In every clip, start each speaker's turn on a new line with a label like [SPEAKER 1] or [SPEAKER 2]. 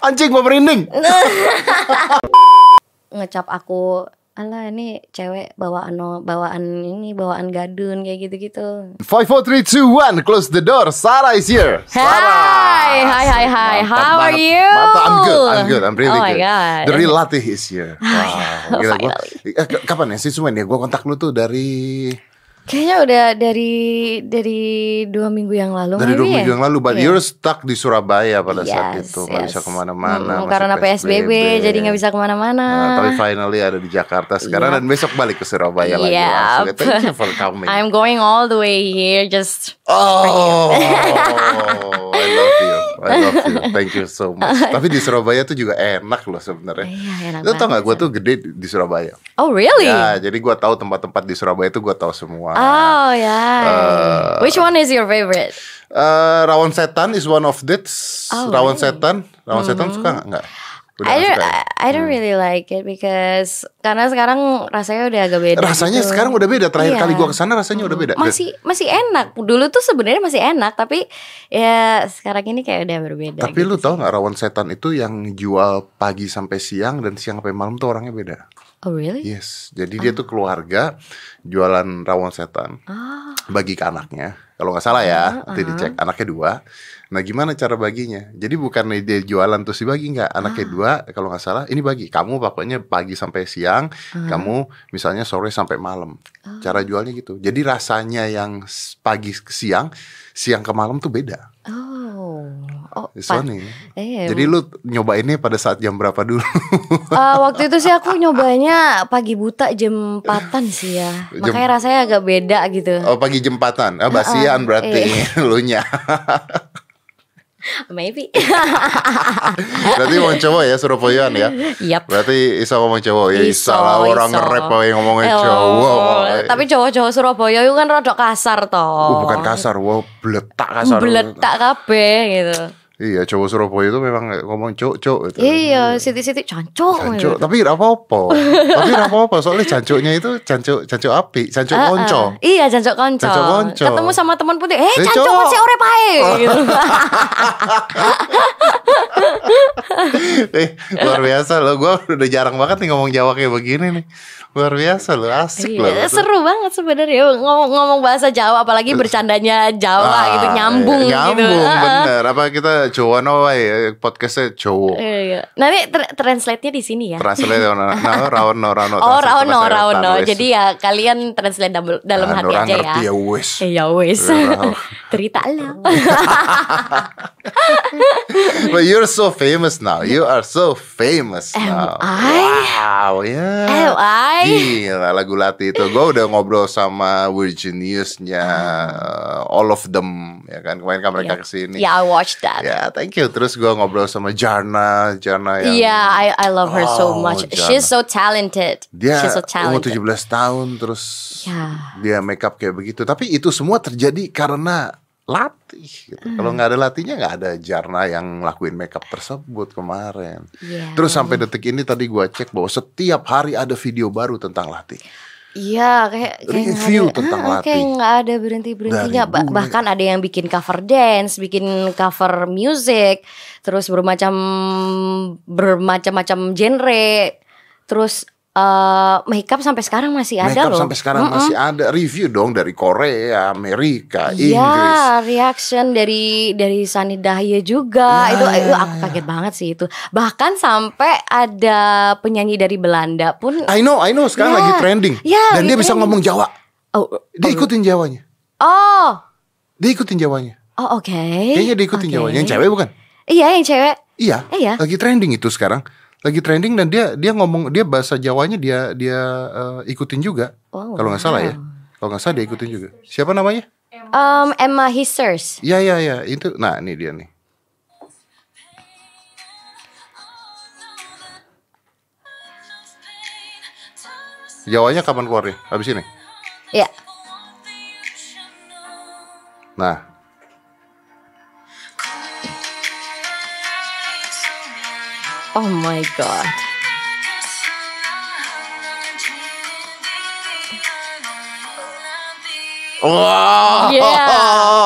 [SPEAKER 1] Anjing mau merinding.
[SPEAKER 2] ngecap aku Alah ini cewek bawaan no- bawaan ini bawaan gadun kayak gitu-gitu.
[SPEAKER 1] Five, four, three, two, one. Close the door. Sarah is here.
[SPEAKER 2] Hi, hi, hi, hi.
[SPEAKER 1] Mantap
[SPEAKER 2] How are
[SPEAKER 1] banget.
[SPEAKER 2] you?
[SPEAKER 1] Mantap. I'm good. I'm good. I'm really
[SPEAKER 2] Oh my
[SPEAKER 1] good.
[SPEAKER 2] God. Oh,
[SPEAKER 1] The real Latih is here. Wow. Gila gua. Eh, k- Kapan ya sih Sumen ya? Gue kontak lu tuh dari
[SPEAKER 2] Kayaknya udah dari dari dua minggu yang lalu.
[SPEAKER 1] dari dua
[SPEAKER 2] maybe
[SPEAKER 1] minggu
[SPEAKER 2] ya?
[SPEAKER 1] yang lalu. But
[SPEAKER 2] Iya.
[SPEAKER 1] you're stuck di Surabaya pada saat
[SPEAKER 2] Yes,
[SPEAKER 1] itu. Gak
[SPEAKER 2] yes.
[SPEAKER 1] bisa kemana-mana.
[SPEAKER 2] Mm,
[SPEAKER 1] masih
[SPEAKER 2] karena PSBB, jadi nggak bisa Iya. kemana-mana.
[SPEAKER 1] Nah, tapi finally ada di Jakarta sekarang
[SPEAKER 2] Yap.
[SPEAKER 1] dan besok balik ke Surabaya lagi
[SPEAKER 2] Yap.
[SPEAKER 1] langsung. Thank you for coming.
[SPEAKER 2] I'm going all the way here just
[SPEAKER 1] Oh, I love you, I love you, thank you so much. Tapi di Surabaya tuh juga enak loh sebenarnya.
[SPEAKER 2] Iya, enak
[SPEAKER 1] Lo tau gak
[SPEAKER 2] banget
[SPEAKER 1] gue tuh gede di Surabaya.
[SPEAKER 2] Oh really?
[SPEAKER 1] Ya, jadi gue tahu tempat-tempat di Surabaya tuh gue tahu semua.
[SPEAKER 2] Oh yeah.
[SPEAKER 1] Eh.
[SPEAKER 2] Which one is your favorite?
[SPEAKER 1] Eh, Rawan Setan is one of this.
[SPEAKER 2] Oh, really? Hmm. eh,
[SPEAKER 1] Rawan Setan, Rawan Setan suka nggak? Nggak. Udah
[SPEAKER 2] I
[SPEAKER 1] nggak
[SPEAKER 2] don't
[SPEAKER 1] suka ya?
[SPEAKER 2] I, I don't really like it because karena sekarang rasanya udah agak beda.
[SPEAKER 1] Rasanya
[SPEAKER 2] gitu.
[SPEAKER 1] sekarang udah beda. Terakhir
[SPEAKER 2] Iya.
[SPEAKER 1] kali gue kesana rasanya udah beda.
[SPEAKER 2] masih masih enak. Dulu tuh sebenarnya masih enak tapi ya sekarang ini kayak udah berbeda. gitu.
[SPEAKER 1] Tapi lu tau nggak Rawan Setan itu yang jual pagi sampai siang dan siang sampai malam tuh orangnya beda.
[SPEAKER 2] Oh really?
[SPEAKER 1] Yes, jadi dia tuh keluarga jualan rawon setan
[SPEAKER 2] Ah,
[SPEAKER 1] bagi ke anaknya. Kalau nggak salah ya, nanti dicek anaknya dua. Nah, gimana cara baginya? Jadi bukan dia jualan terus dibagi nggak? Anaknya dua, kalau nggak salah, ini bagi kamu pokoknya pagi sampai siang, kamu misalnya sore sampai malam. Cara jualnya gitu. Jadi rasanya yang s- pagi ke siang, siang ke malam tuh beda.
[SPEAKER 2] Oh. Oh.
[SPEAKER 1] It's
[SPEAKER 2] pa-
[SPEAKER 1] funny.
[SPEAKER 2] Eh,
[SPEAKER 1] Jadi lu nyobainnya pada saat jam berapa dulu?
[SPEAKER 2] Eh, waktu itu sih aku nyobanya pagi buta jam 4-an sih ya.
[SPEAKER 1] Jam-
[SPEAKER 2] Makanya rasanya agak beda gitu.
[SPEAKER 1] Oh pagi jempatan, ah, basian berarti lu nya.
[SPEAKER 2] Maybe.
[SPEAKER 1] Berarti mau cowok ya Surabayaan ya.
[SPEAKER 2] Yap.
[SPEAKER 1] Berarti Isa ngomong cowok ya.
[SPEAKER 2] Iso,
[SPEAKER 1] Isa lah orang
[SPEAKER 2] iso.
[SPEAKER 1] nge-rap apa yang ngomongin
[SPEAKER 2] Eh,
[SPEAKER 1] cowok.
[SPEAKER 2] Tapi cowok-cowok Surabaya itu kan rada kasar toh.
[SPEAKER 1] Uh, bukan kasar, wow, beletak kasar.
[SPEAKER 2] Beletak kabeh gitu.
[SPEAKER 1] Iya, cowok Surabaya itu memang ngomong cowok-cowok gitu.
[SPEAKER 2] Iya, gitu. siti-siti cancok.
[SPEAKER 1] Cancuk, tapi apa-apa. tapi apa-apa, soalnya cancuknya itu cancuk cancuk api, cancuk
[SPEAKER 2] Ah, ah.
[SPEAKER 1] konco.
[SPEAKER 2] Iya, cancok konco.
[SPEAKER 1] Cancok konco.
[SPEAKER 2] Ketemu sama teman putih, "Eh,
[SPEAKER 1] Eh, Oh,
[SPEAKER 2] cancok
[SPEAKER 1] cowok."
[SPEAKER 2] kan si orep ae." gitu.
[SPEAKER 1] Eh, luar biasa loh, gua udah jarang banget nih ngomong Jawa kayak begini nih. Luar biasa loh, asik loh.
[SPEAKER 2] Iya, seru banget sebenarnya ngomong, ngomong bahasa Jawa apalagi bercandanya Jawa
[SPEAKER 1] Ah,
[SPEAKER 2] gitu nyambung,
[SPEAKER 1] iya,
[SPEAKER 2] gitu.
[SPEAKER 1] Nyambung,
[SPEAKER 2] Ah, ah.
[SPEAKER 1] bener. Apa kita cowok nawa ya, podcastnya cowok.
[SPEAKER 2] Iya, iya. Nanti tra- translate-nya di sini ya.
[SPEAKER 1] Translate no, no, no, raon no, raon
[SPEAKER 2] oh,
[SPEAKER 1] no, translate
[SPEAKER 2] Rauno,
[SPEAKER 1] bahasa
[SPEAKER 2] Rauno.
[SPEAKER 1] Eropa, wes.
[SPEAKER 2] Jadi ya kalian translate dam- dalam
[SPEAKER 1] Ah,
[SPEAKER 2] hati
[SPEAKER 1] orang
[SPEAKER 2] aja
[SPEAKER 1] ngerti
[SPEAKER 2] ya.
[SPEAKER 1] ya wes.
[SPEAKER 2] Eh, ya wes.
[SPEAKER 1] Rauno.
[SPEAKER 2] Cerita lah.
[SPEAKER 1] But you're so famous now. You are so famous
[SPEAKER 2] Am
[SPEAKER 1] now.
[SPEAKER 2] I?
[SPEAKER 1] Wow, yeah.
[SPEAKER 2] Am I?
[SPEAKER 1] Gila, lagu Lati itu. Gue udah ngobrol sama Virginiusnya, uh, all of them, ya kan. Kemarin kan
[SPEAKER 2] Iya.
[SPEAKER 1] mereka kesini.
[SPEAKER 2] Yeah, I watched that.
[SPEAKER 1] Ya, thank you. Terus gue ngobrol sama Jarna, Jarna yang
[SPEAKER 2] Yeah, I I love her so
[SPEAKER 1] Oh,
[SPEAKER 2] much.
[SPEAKER 1] Jana.
[SPEAKER 2] She's so talented.
[SPEAKER 1] dia
[SPEAKER 2] She's so
[SPEAKER 1] umur
[SPEAKER 2] talented.
[SPEAKER 1] 17 tahun terus
[SPEAKER 2] Ya.
[SPEAKER 1] dia make up kayak begitu tapi itu semua terjadi karena latih gitu.
[SPEAKER 2] Hmm.
[SPEAKER 1] kalau nggak ada latihnya nggak ada Jarna yang ngelakuin make up tersebut kemarin
[SPEAKER 2] Iya.
[SPEAKER 1] terus sampai detik ini tadi gua cek bahwa setiap hari ada video baru tentang latih
[SPEAKER 2] Iya, kayak kayak nggak
[SPEAKER 1] Review
[SPEAKER 2] ada-
[SPEAKER 1] tentang
[SPEAKER 2] ah, Kayak
[SPEAKER 1] Latif.
[SPEAKER 2] nggak ada berhenti berhentinya.
[SPEAKER 1] Dari dulu.
[SPEAKER 2] bahkan ada yang bikin cover dance, bikin cover music, terus bermacam bermacam-macam genre, terus eh, makeup sampai sekarang masih
[SPEAKER 1] make
[SPEAKER 2] Ya ada
[SPEAKER 1] up
[SPEAKER 2] loh.
[SPEAKER 1] sampai sekarang masih ada review dong dari Korea Amerika Inggris
[SPEAKER 2] Iya, reaction dari dari Sani Dahye juga.
[SPEAKER 1] Ya,
[SPEAKER 2] itu
[SPEAKER 1] ya,
[SPEAKER 2] itu aku kaget banget sih itu. Bahkan sampai ada penyanyi dari Belanda pun
[SPEAKER 1] I know I know sekarang
[SPEAKER 2] Ya.
[SPEAKER 1] lagi trending
[SPEAKER 2] Ya,
[SPEAKER 1] dan
[SPEAKER 2] lagi
[SPEAKER 1] dia bisa
[SPEAKER 2] trending.
[SPEAKER 1] ngomong Jawa
[SPEAKER 2] oh
[SPEAKER 1] dia ikutin Jawanya
[SPEAKER 2] oh,
[SPEAKER 1] dia ikutin Jawanya
[SPEAKER 2] oh, oke.
[SPEAKER 1] kayaknya dia ikutin
[SPEAKER 2] Oke.
[SPEAKER 1] Jawanya yang cewek bukan
[SPEAKER 2] Iya, yang cewek.
[SPEAKER 1] Iya.
[SPEAKER 2] Eh, ya.
[SPEAKER 1] Lagi trending itu sekarang. Lagi trending dan dia dia ngomong dia bahasa Jawanya dia dia eh, ikutin juga.
[SPEAKER 2] Wow.
[SPEAKER 1] Kalau nggak salah ya. Kalau nggak salah dia ikutin juga. Siapa namanya?
[SPEAKER 2] Um, Emma Hissers.
[SPEAKER 1] Iya iya iya itu. Nah ini dia nih. Jawanya kapan keluarnya? Habis ini.
[SPEAKER 2] Ya.
[SPEAKER 1] Nah.
[SPEAKER 2] Oh my god. Iya.
[SPEAKER 1] Wow.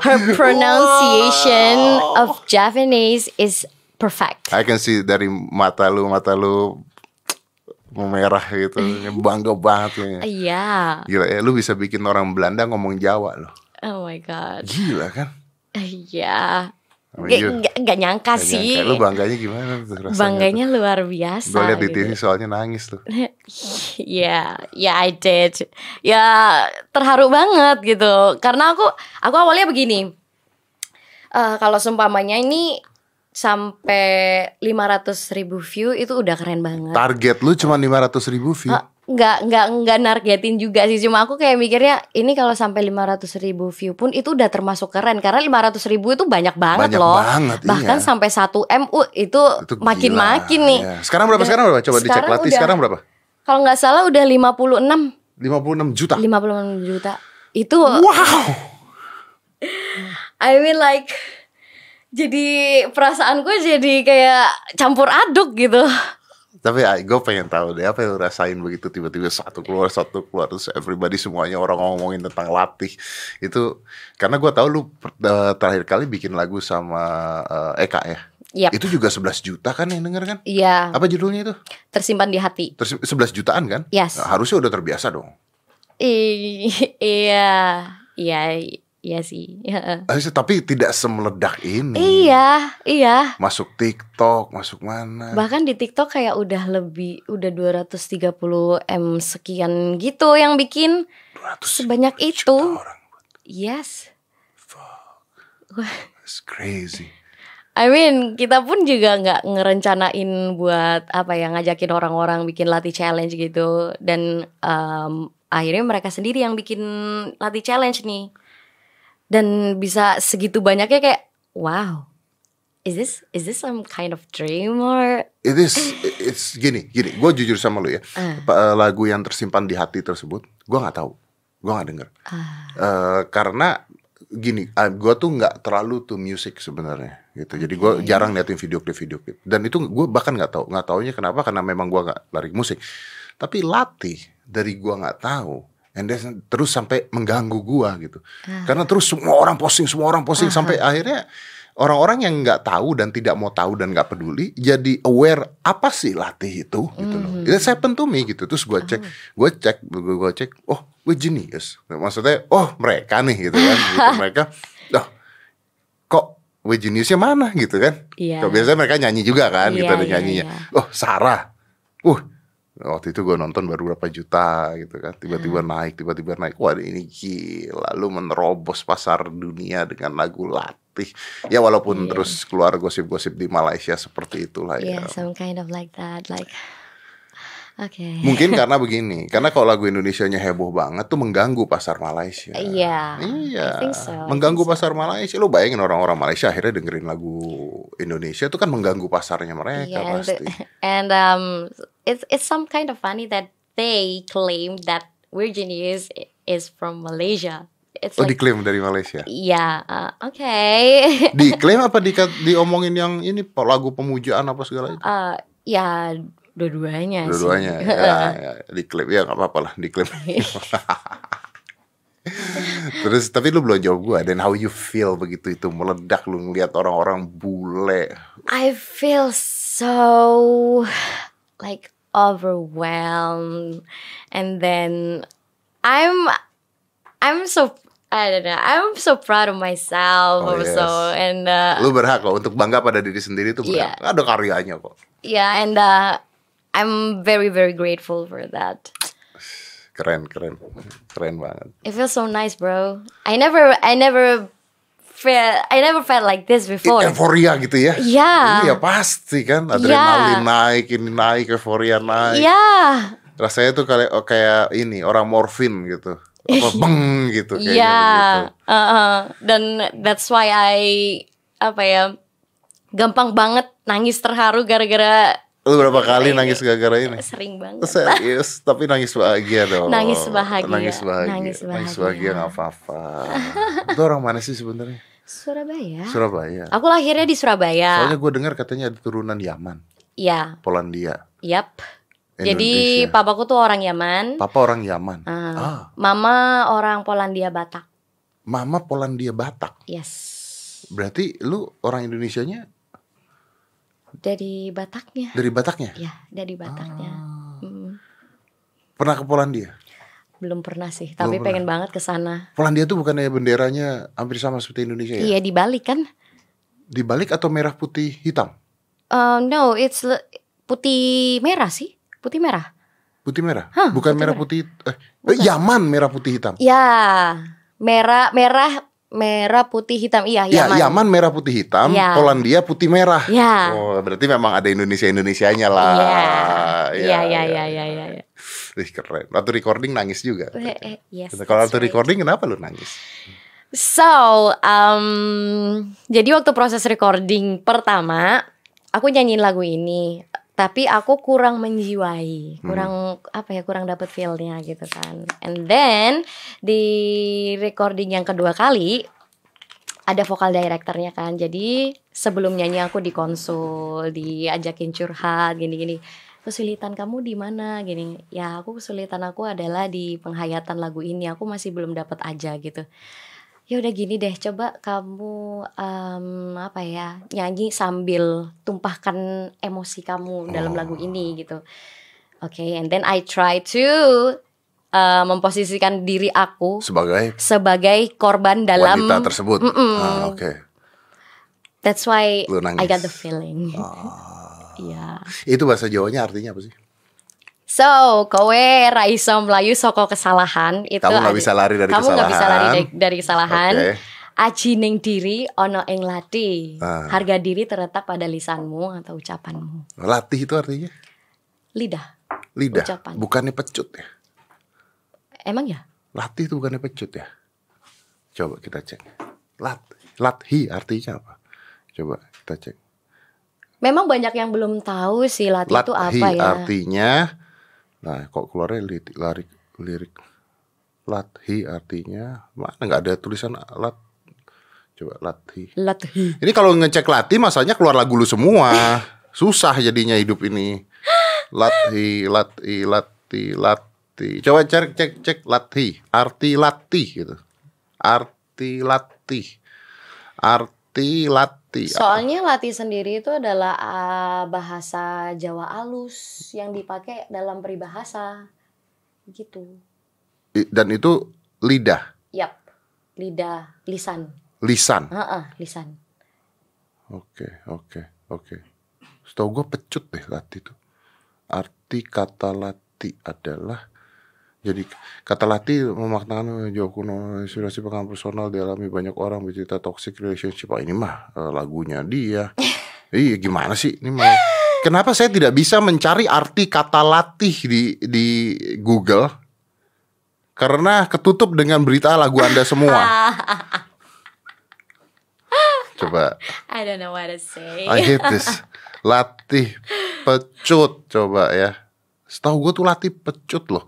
[SPEAKER 2] Her pronunciation of Japanese is perfect.
[SPEAKER 1] I can see dari mata lu mata lu memerah gitu bangga banget lu
[SPEAKER 2] Iya.
[SPEAKER 1] ya.
[SPEAKER 2] Yeah.
[SPEAKER 1] gila ya lu bisa bikin orang Belanda ngomong Jawa loh
[SPEAKER 2] Oh my god.
[SPEAKER 1] gila kan
[SPEAKER 2] Yeah.
[SPEAKER 1] Oh,
[SPEAKER 2] Gak,
[SPEAKER 1] iya.
[SPEAKER 2] gak- gak nyangka
[SPEAKER 1] Gak
[SPEAKER 2] sih.
[SPEAKER 1] nyangka. lu bangganya gimana tuh rasanya
[SPEAKER 2] Bangganya luar
[SPEAKER 1] tuh?
[SPEAKER 2] biasa.
[SPEAKER 1] gue liat di
[SPEAKER 2] gitu.
[SPEAKER 1] TV soalnya nangis tuh
[SPEAKER 2] Yeah, yeah I did. Ya terharu banget gitu. Karena aku aku awalnya begini. Eh kalau seumpamanya ini sampai 500 ribu view itu udah keren banget.
[SPEAKER 1] target lu cuma 500 ribu view
[SPEAKER 2] Eh, Nggak nggak nggak nargetin juga sih. Cuma aku kayak mikirnya ini kalau sampai 500 ribu view pun itu udah termasuk keren karena 500 ribu itu banyak banget
[SPEAKER 1] Banyak
[SPEAKER 2] loh.
[SPEAKER 1] banget, iya.
[SPEAKER 2] Bahkan sampai 1 m uh, itu
[SPEAKER 1] Itu gila.
[SPEAKER 2] makin-makin nih.
[SPEAKER 1] Iya. sekarang berapa
[SPEAKER 2] Udah-
[SPEAKER 1] sekarang berapa coba dicek
[SPEAKER 2] sekarang
[SPEAKER 1] latih
[SPEAKER 2] udah-
[SPEAKER 1] sekarang berapa
[SPEAKER 2] Kalau nggak salah udah 56
[SPEAKER 1] 56 juta
[SPEAKER 2] 56 juta itu
[SPEAKER 1] wow
[SPEAKER 2] I mean like jadi perasaan gue jadi kayak campur aduk gitu
[SPEAKER 1] Tapi gue pengen tahu deh apa yang lu rasain begitu tiba-tiba satu keluar satu keluar terus everybody semuanya orang ngomongin tentang latih itu karena gue tahu lu per- eh, terakhir kali bikin lagu sama eh, Eka ya
[SPEAKER 2] Yap.
[SPEAKER 1] itu juga 11 juta kan yang denger kan
[SPEAKER 2] Iya
[SPEAKER 1] apa judulnya itu
[SPEAKER 2] tersimpan di hati
[SPEAKER 1] terus 11 jutaan kan
[SPEAKER 2] Yes.
[SPEAKER 1] Nah, harusnya udah terbiasa dong
[SPEAKER 2] I- Iya Iya Iya sih Heeh.
[SPEAKER 1] Harusnya, Eh, tapi tidak semeledak ini
[SPEAKER 2] Iya Iya
[SPEAKER 1] masuk TikTok masuk mana
[SPEAKER 2] Bahkan di TikTok kayak udah lebih Udah 230 M sekian gitu yang bikin
[SPEAKER 1] 200
[SPEAKER 2] Sebanyak itu
[SPEAKER 1] orang
[SPEAKER 2] Yes
[SPEAKER 1] It's crazy
[SPEAKER 2] I mean kita pun juga nggak ngerencanain buat apa ya ngajakin orang-orang bikin latih challenge gitu dan em, akhirnya mereka sendiri yang bikin latih challenge nih dan bisa segitu banyaknya kayak wow is this is this some kind of dream or
[SPEAKER 1] It is, it's gini, gini. Gue jujur sama lu ya, pa- lagu yang tersimpan di hati tersebut, gue nggak tahu, gue nggak denger. Eh, karena gini, gue tuh nggak terlalu tuh music sebenarnya, gitu. Jadi gue jarang liatin video klip video klip. Dan itu gue bahkan nggak tahu, nggak taunya kenapa? Karena memang gue nggak lari ke musik. Tapi latih dari gue nggak tahu. And then terus sampai mengganggu gua gitu, karena terus semua orang posting, semua orang posting sampai akhirnya orang-orang yang nggak tahu dan tidak mau tahu dan nggak peduli jadi aware apa sih latih itu gitu
[SPEAKER 2] Hmm.
[SPEAKER 1] loh. Itu saya to me gitu. Terus gue cek, gue cek, gue cek, oh gue genius. Maksudnya, oh mereka nih gitu kan, gitu. mereka, oh kok gue geniusnya mana gitu kan?
[SPEAKER 2] Iya.
[SPEAKER 1] Kalau biasanya mereka nyanyi juga kan, gitu
[SPEAKER 2] Iya,
[SPEAKER 1] ada
[SPEAKER 2] iya,
[SPEAKER 1] nyanyinya. Oh Sarah, uh waktu itu gue nonton baru berapa juta gitu kan tiba-tiba
[SPEAKER 2] Hmm.
[SPEAKER 1] naik tiba-tiba naik wah ini gila lu menerobos pasar dunia dengan lagu latih ya
[SPEAKER 2] Iya.
[SPEAKER 1] walaupun terus keluar gosip-gosip di Malaysia seperti itulah
[SPEAKER 2] yeah
[SPEAKER 1] ya
[SPEAKER 2] some kind of like that like okay
[SPEAKER 1] mungkin karena begini karena kalau lagu Indonesianya heboh banget tuh mengganggu pasar Malaysia
[SPEAKER 2] Iya, I
[SPEAKER 1] Iya,
[SPEAKER 2] think so, I
[SPEAKER 1] mengganggu
[SPEAKER 2] think so.
[SPEAKER 1] pasar Malaysia. Lu bayangin orang-orang Malaysia akhirnya dengerin lagu Indonesia itu kan mengganggu pasarnya mereka
[SPEAKER 2] Yeah, and,
[SPEAKER 1] pasti.
[SPEAKER 2] and um, it's it's some kind of funny that they claim that Virgin is is from Malaysia. It's
[SPEAKER 1] Oh
[SPEAKER 2] like
[SPEAKER 1] diklaim dari Malaysia.
[SPEAKER 2] yeah, uh, okay.
[SPEAKER 1] Diklaim apa dikat- diomongin yang ini po- lagu pemujaan apa segala itu?
[SPEAKER 2] uh, ya dua-duanya. sih.
[SPEAKER 1] Dua-duanya. Ya, ya, diklaim ya nggak apa-apa lah diklaim. Terus tapi lu belum jawab gua dan how you feel begitu itu meledak lu ngeliat orang-orang bule.
[SPEAKER 2] I feel so like overwhelmed and then I'm I'm so I don't know. I'm so proud of myself
[SPEAKER 1] Oh,
[SPEAKER 2] also
[SPEAKER 1] yes.
[SPEAKER 2] and uh,
[SPEAKER 1] Lu berhak kok untuk bangga pada diri sendiri tuh berhak. Ada karyanya kok.
[SPEAKER 2] Yeah, and uh, I'm very, very grateful for that.
[SPEAKER 1] Keren, keren. Keren banget.
[SPEAKER 2] It feels so nice, bro. I never, I never felt, I never felt like this before.
[SPEAKER 1] Euforia gitu ya.
[SPEAKER 2] Iya.
[SPEAKER 1] Iya pasti kan adrenalin naik, ini naik, euforia naik.
[SPEAKER 2] Yeah,
[SPEAKER 1] rasanya tuh kayak oh, kayak ini orang morfin gitu apa beng gitu kayaknya
[SPEAKER 2] yeah.
[SPEAKER 1] begitu.
[SPEAKER 2] Uh, dan that's why I apa ya, gampang banget nangis terharu gara-gara
[SPEAKER 1] gitu. lu berapa
[SPEAKER 2] Iya,
[SPEAKER 1] kali nangis gara-gara ini
[SPEAKER 2] sering banget.
[SPEAKER 1] serius tapi nangis bahagia dong
[SPEAKER 2] Nangis bahagia.
[SPEAKER 1] nangis bahagia nangis
[SPEAKER 2] Nangis
[SPEAKER 1] bahagia,
[SPEAKER 2] bahagia.
[SPEAKER 1] nggak apa-apa itu orang mana sih sebenarnya
[SPEAKER 2] Surabaya.
[SPEAKER 1] Surabaya.
[SPEAKER 2] Aku lahirnya di Surabaya.
[SPEAKER 1] Soalnya gue dengar katanya ada turunan Yaman,
[SPEAKER 2] Iya,
[SPEAKER 1] Polandia,
[SPEAKER 2] yap. Jadi
[SPEAKER 1] Indonesia.
[SPEAKER 2] papaku tuh orang Yaman.
[SPEAKER 1] Papa orang Yaman.
[SPEAKER 2] Ah,
[SPEAKER 1] Ah,
[SPEAKER 2] Mama orang Polandia Batak.
[SPEAKER 1] mama Polandia Batak.
[SPEAKER 2] Yes.
[SPEAKER 1] Berarti lu orang Indonesianya
[SPEAKER 2] Dari Bataknya.
[SPEAKER 1] dari Bataknya?
[SPEAKER 2] Ya, dari Bataknya.
[SPEAKER 1] Ah.
[SPEAKER 2] Mm,
[SPEAKER 1] Pernah ke Polandia?
[SPEAKER 2] Belum pernah sih, tapi
[SPEAKER 1] Belum
[SPEAKER 2] pengen banget ke sana.
[SPEAKER 1] Polandia tuh bukannya benderanya hampir sama seperti Indonesia ya?
[SPEAKER 2] Iya, di Bali kan?
[SPEAKER 1] Dibalik atau merah putih hitam?
[SPEAKER 2] Uh, no, it's le- putih merah sih. Putih merah.
[SPEAKER 1] Putih merah?
[SPEAKER 2] Hah,
[SPEAKER 1] Bukan
[SPEAKER 2] putih
[SPEAKER 1] merah
[SPEAKER 2] merah.
[SPEAKER 1] putih eh,
[SPEAKER 2] Bukan.
[SPEAKER 1] Yaman merah putih hitam.
[SPEAKER 2] Ya, merah merah merah putih hitam. Iya,
[SPEAKER 1] Ya,
[SPEAKER 2] Yaman.
[SPEAKER 1] Yaman, merah putih hitam,
[SPEAKER 2] Iya.
[SPEAKER 1] Polandia putih merah.
[SPEAKER 2] Ya.
[SPEAKER 1] Oh, berarti memang ada Indonesia-Indonesianya lah.
[SPEAKER 2] Iya.
[SPEAKER 1] Iya,
[SPEAKER 2] Iya, iya, iya, iya, iya. iya.
[SPEAKER 1] Ih, keren. Waktu recording nangis juga.
[SPEAKER 2] Eh, eh, Yes.
[SPEAKER 1] Kalau
[SPEAKER 2] that's
[SPEAKER 1] waktu
[SPEAKER 2] right.
[SPEAKER 1] recording kenapa lu nangis?
[SPEAKER 2] So, um, jadi waktu proses recording pertama, aku nyanyiin lagu ini, tapi aku kurang menjiwai, kurang apa ya, kurang dapet feelnya gitu kan. And then di recording yang kedua kali ada vokal directornya kan, jadi sebelum nyanyi aku dikonsul, diajakin curhat, gini-gini. Kesulitan kamu di mana? Gini, ya aku kesulitan aku adalah di penghayatan lagu ini, aku masih belum dapat aja gitu ya udah gini deh coba kamu em, apa ya nyanyi sambil tumpahkan emosi kamu dalam
[SPEAKER 1] Oh.
[SPEAKER 2] lagu ini gitu oke and then I try to eh, memposisikan diri aku
[SPEAKER 1] Sebagai
[SPEAKER 2] sebagai korban dalam
[SPEAKER 1] wanita tersebut.
[SPEAKER 2] Mm-mm.
[SPEAKER 1] Ah, oke.
[SPEAKER 2] that's why
[SPEAKER 1] Lu
[SPEAKER 2] I
[SPEAKER 1] nangis.
[SPEAKER 2] got the feeling
[SPEAKER 1] Ah.
[SPEAKER 2] Iya.
[SPEAKER 1] Itu bahasa Jawanya artinya apa sih?
[SPEAKER 2] so kowe Raiso Melayu soko kesalahan itu
[SPEAKER 1] Kamu nggak
[SPEAKER 2] ada-
[SPEAKER 1] bisa lari dari
[SPEAKER 2] kamu
[SPEAKER 1] kesalahan.
[SPEAKER 2] nggak bisa lari dari, dari kesalahan
[SPEAKER 1] Oke.
[SPEAKER 2] Ajining diri ono ing lati.
[SPEAKER 1] Ah.
[SPEAKER 2] Harga diri terletak pada lisanmu atau ucapanmu.
[SPEAKER 1] Latih itu artinya
[SPEAKER 2] Lidah.
[SPEAKER 1] lidah,
[SPEAKER 2] Ucapan.
[SPEAKER 1] bukannya pecut ya.
[SPEAKER 2] Emang ya?
[SPEAKER 1] Latih itu bukannya pecut ya. Coba kita cek. Lat, lathi artinya apa? Coba kita cek.
[SPEAKER 2] Memang banyak yang belum tahu sih lati itu
[SPEAKER 1] Lathi
[SPEAKER 2] apa ya.
[SPEAKER 1] artinya Nah kok keluarnya lirik, lirik, lirik. Lathi artinya Mana nggak ada tulisan lat Coba lathi
[SPEAKER 2] Lathi.
[SPEAKER 1] Ini kalau ngecek latih masanya keluar lagu lu semua. Susah jadinya hidup ini. Latih, latih, latih, latih. Coba cek cek cek latih, arti latih gitu. Arti latih. Arti latih.
[SPEAKER 2] Soalnya lati sendiri itu adalah ah, bahasa Jawa alus yang dipakai dalam peribahasa. Gitu.
[SPEAKER 1] I- Dan itu lidah,
[SPEAKER 2] Yap. Lidah, lisan.
[SPEAKER 1] lisan.
[SPEAKER 2] Heeh, lisan.
[SPEAKER 1] Oke, oke, oke. Setahu gue pecut deh latih itu. Arti kata latih adalah jadi kata latih memaknakan eh, jauh kuno inspirasi pengalaman personal dialami banyak orang bercerita toxic relationship. Ah, ini mah eh, lagunya dia. Iya gimana sih ini mah? Kenapa saya tidak bisa mencari arti kata latih di di Google? Karena ketutup dengan berita lagu Anda semua. Coba
[SPEAKER 2] I don't know what to say.
[SPEAKER 1] I hate this. Ah, gitu. Latih pecut coba ya. Setahu gue tuh latih pecut loh.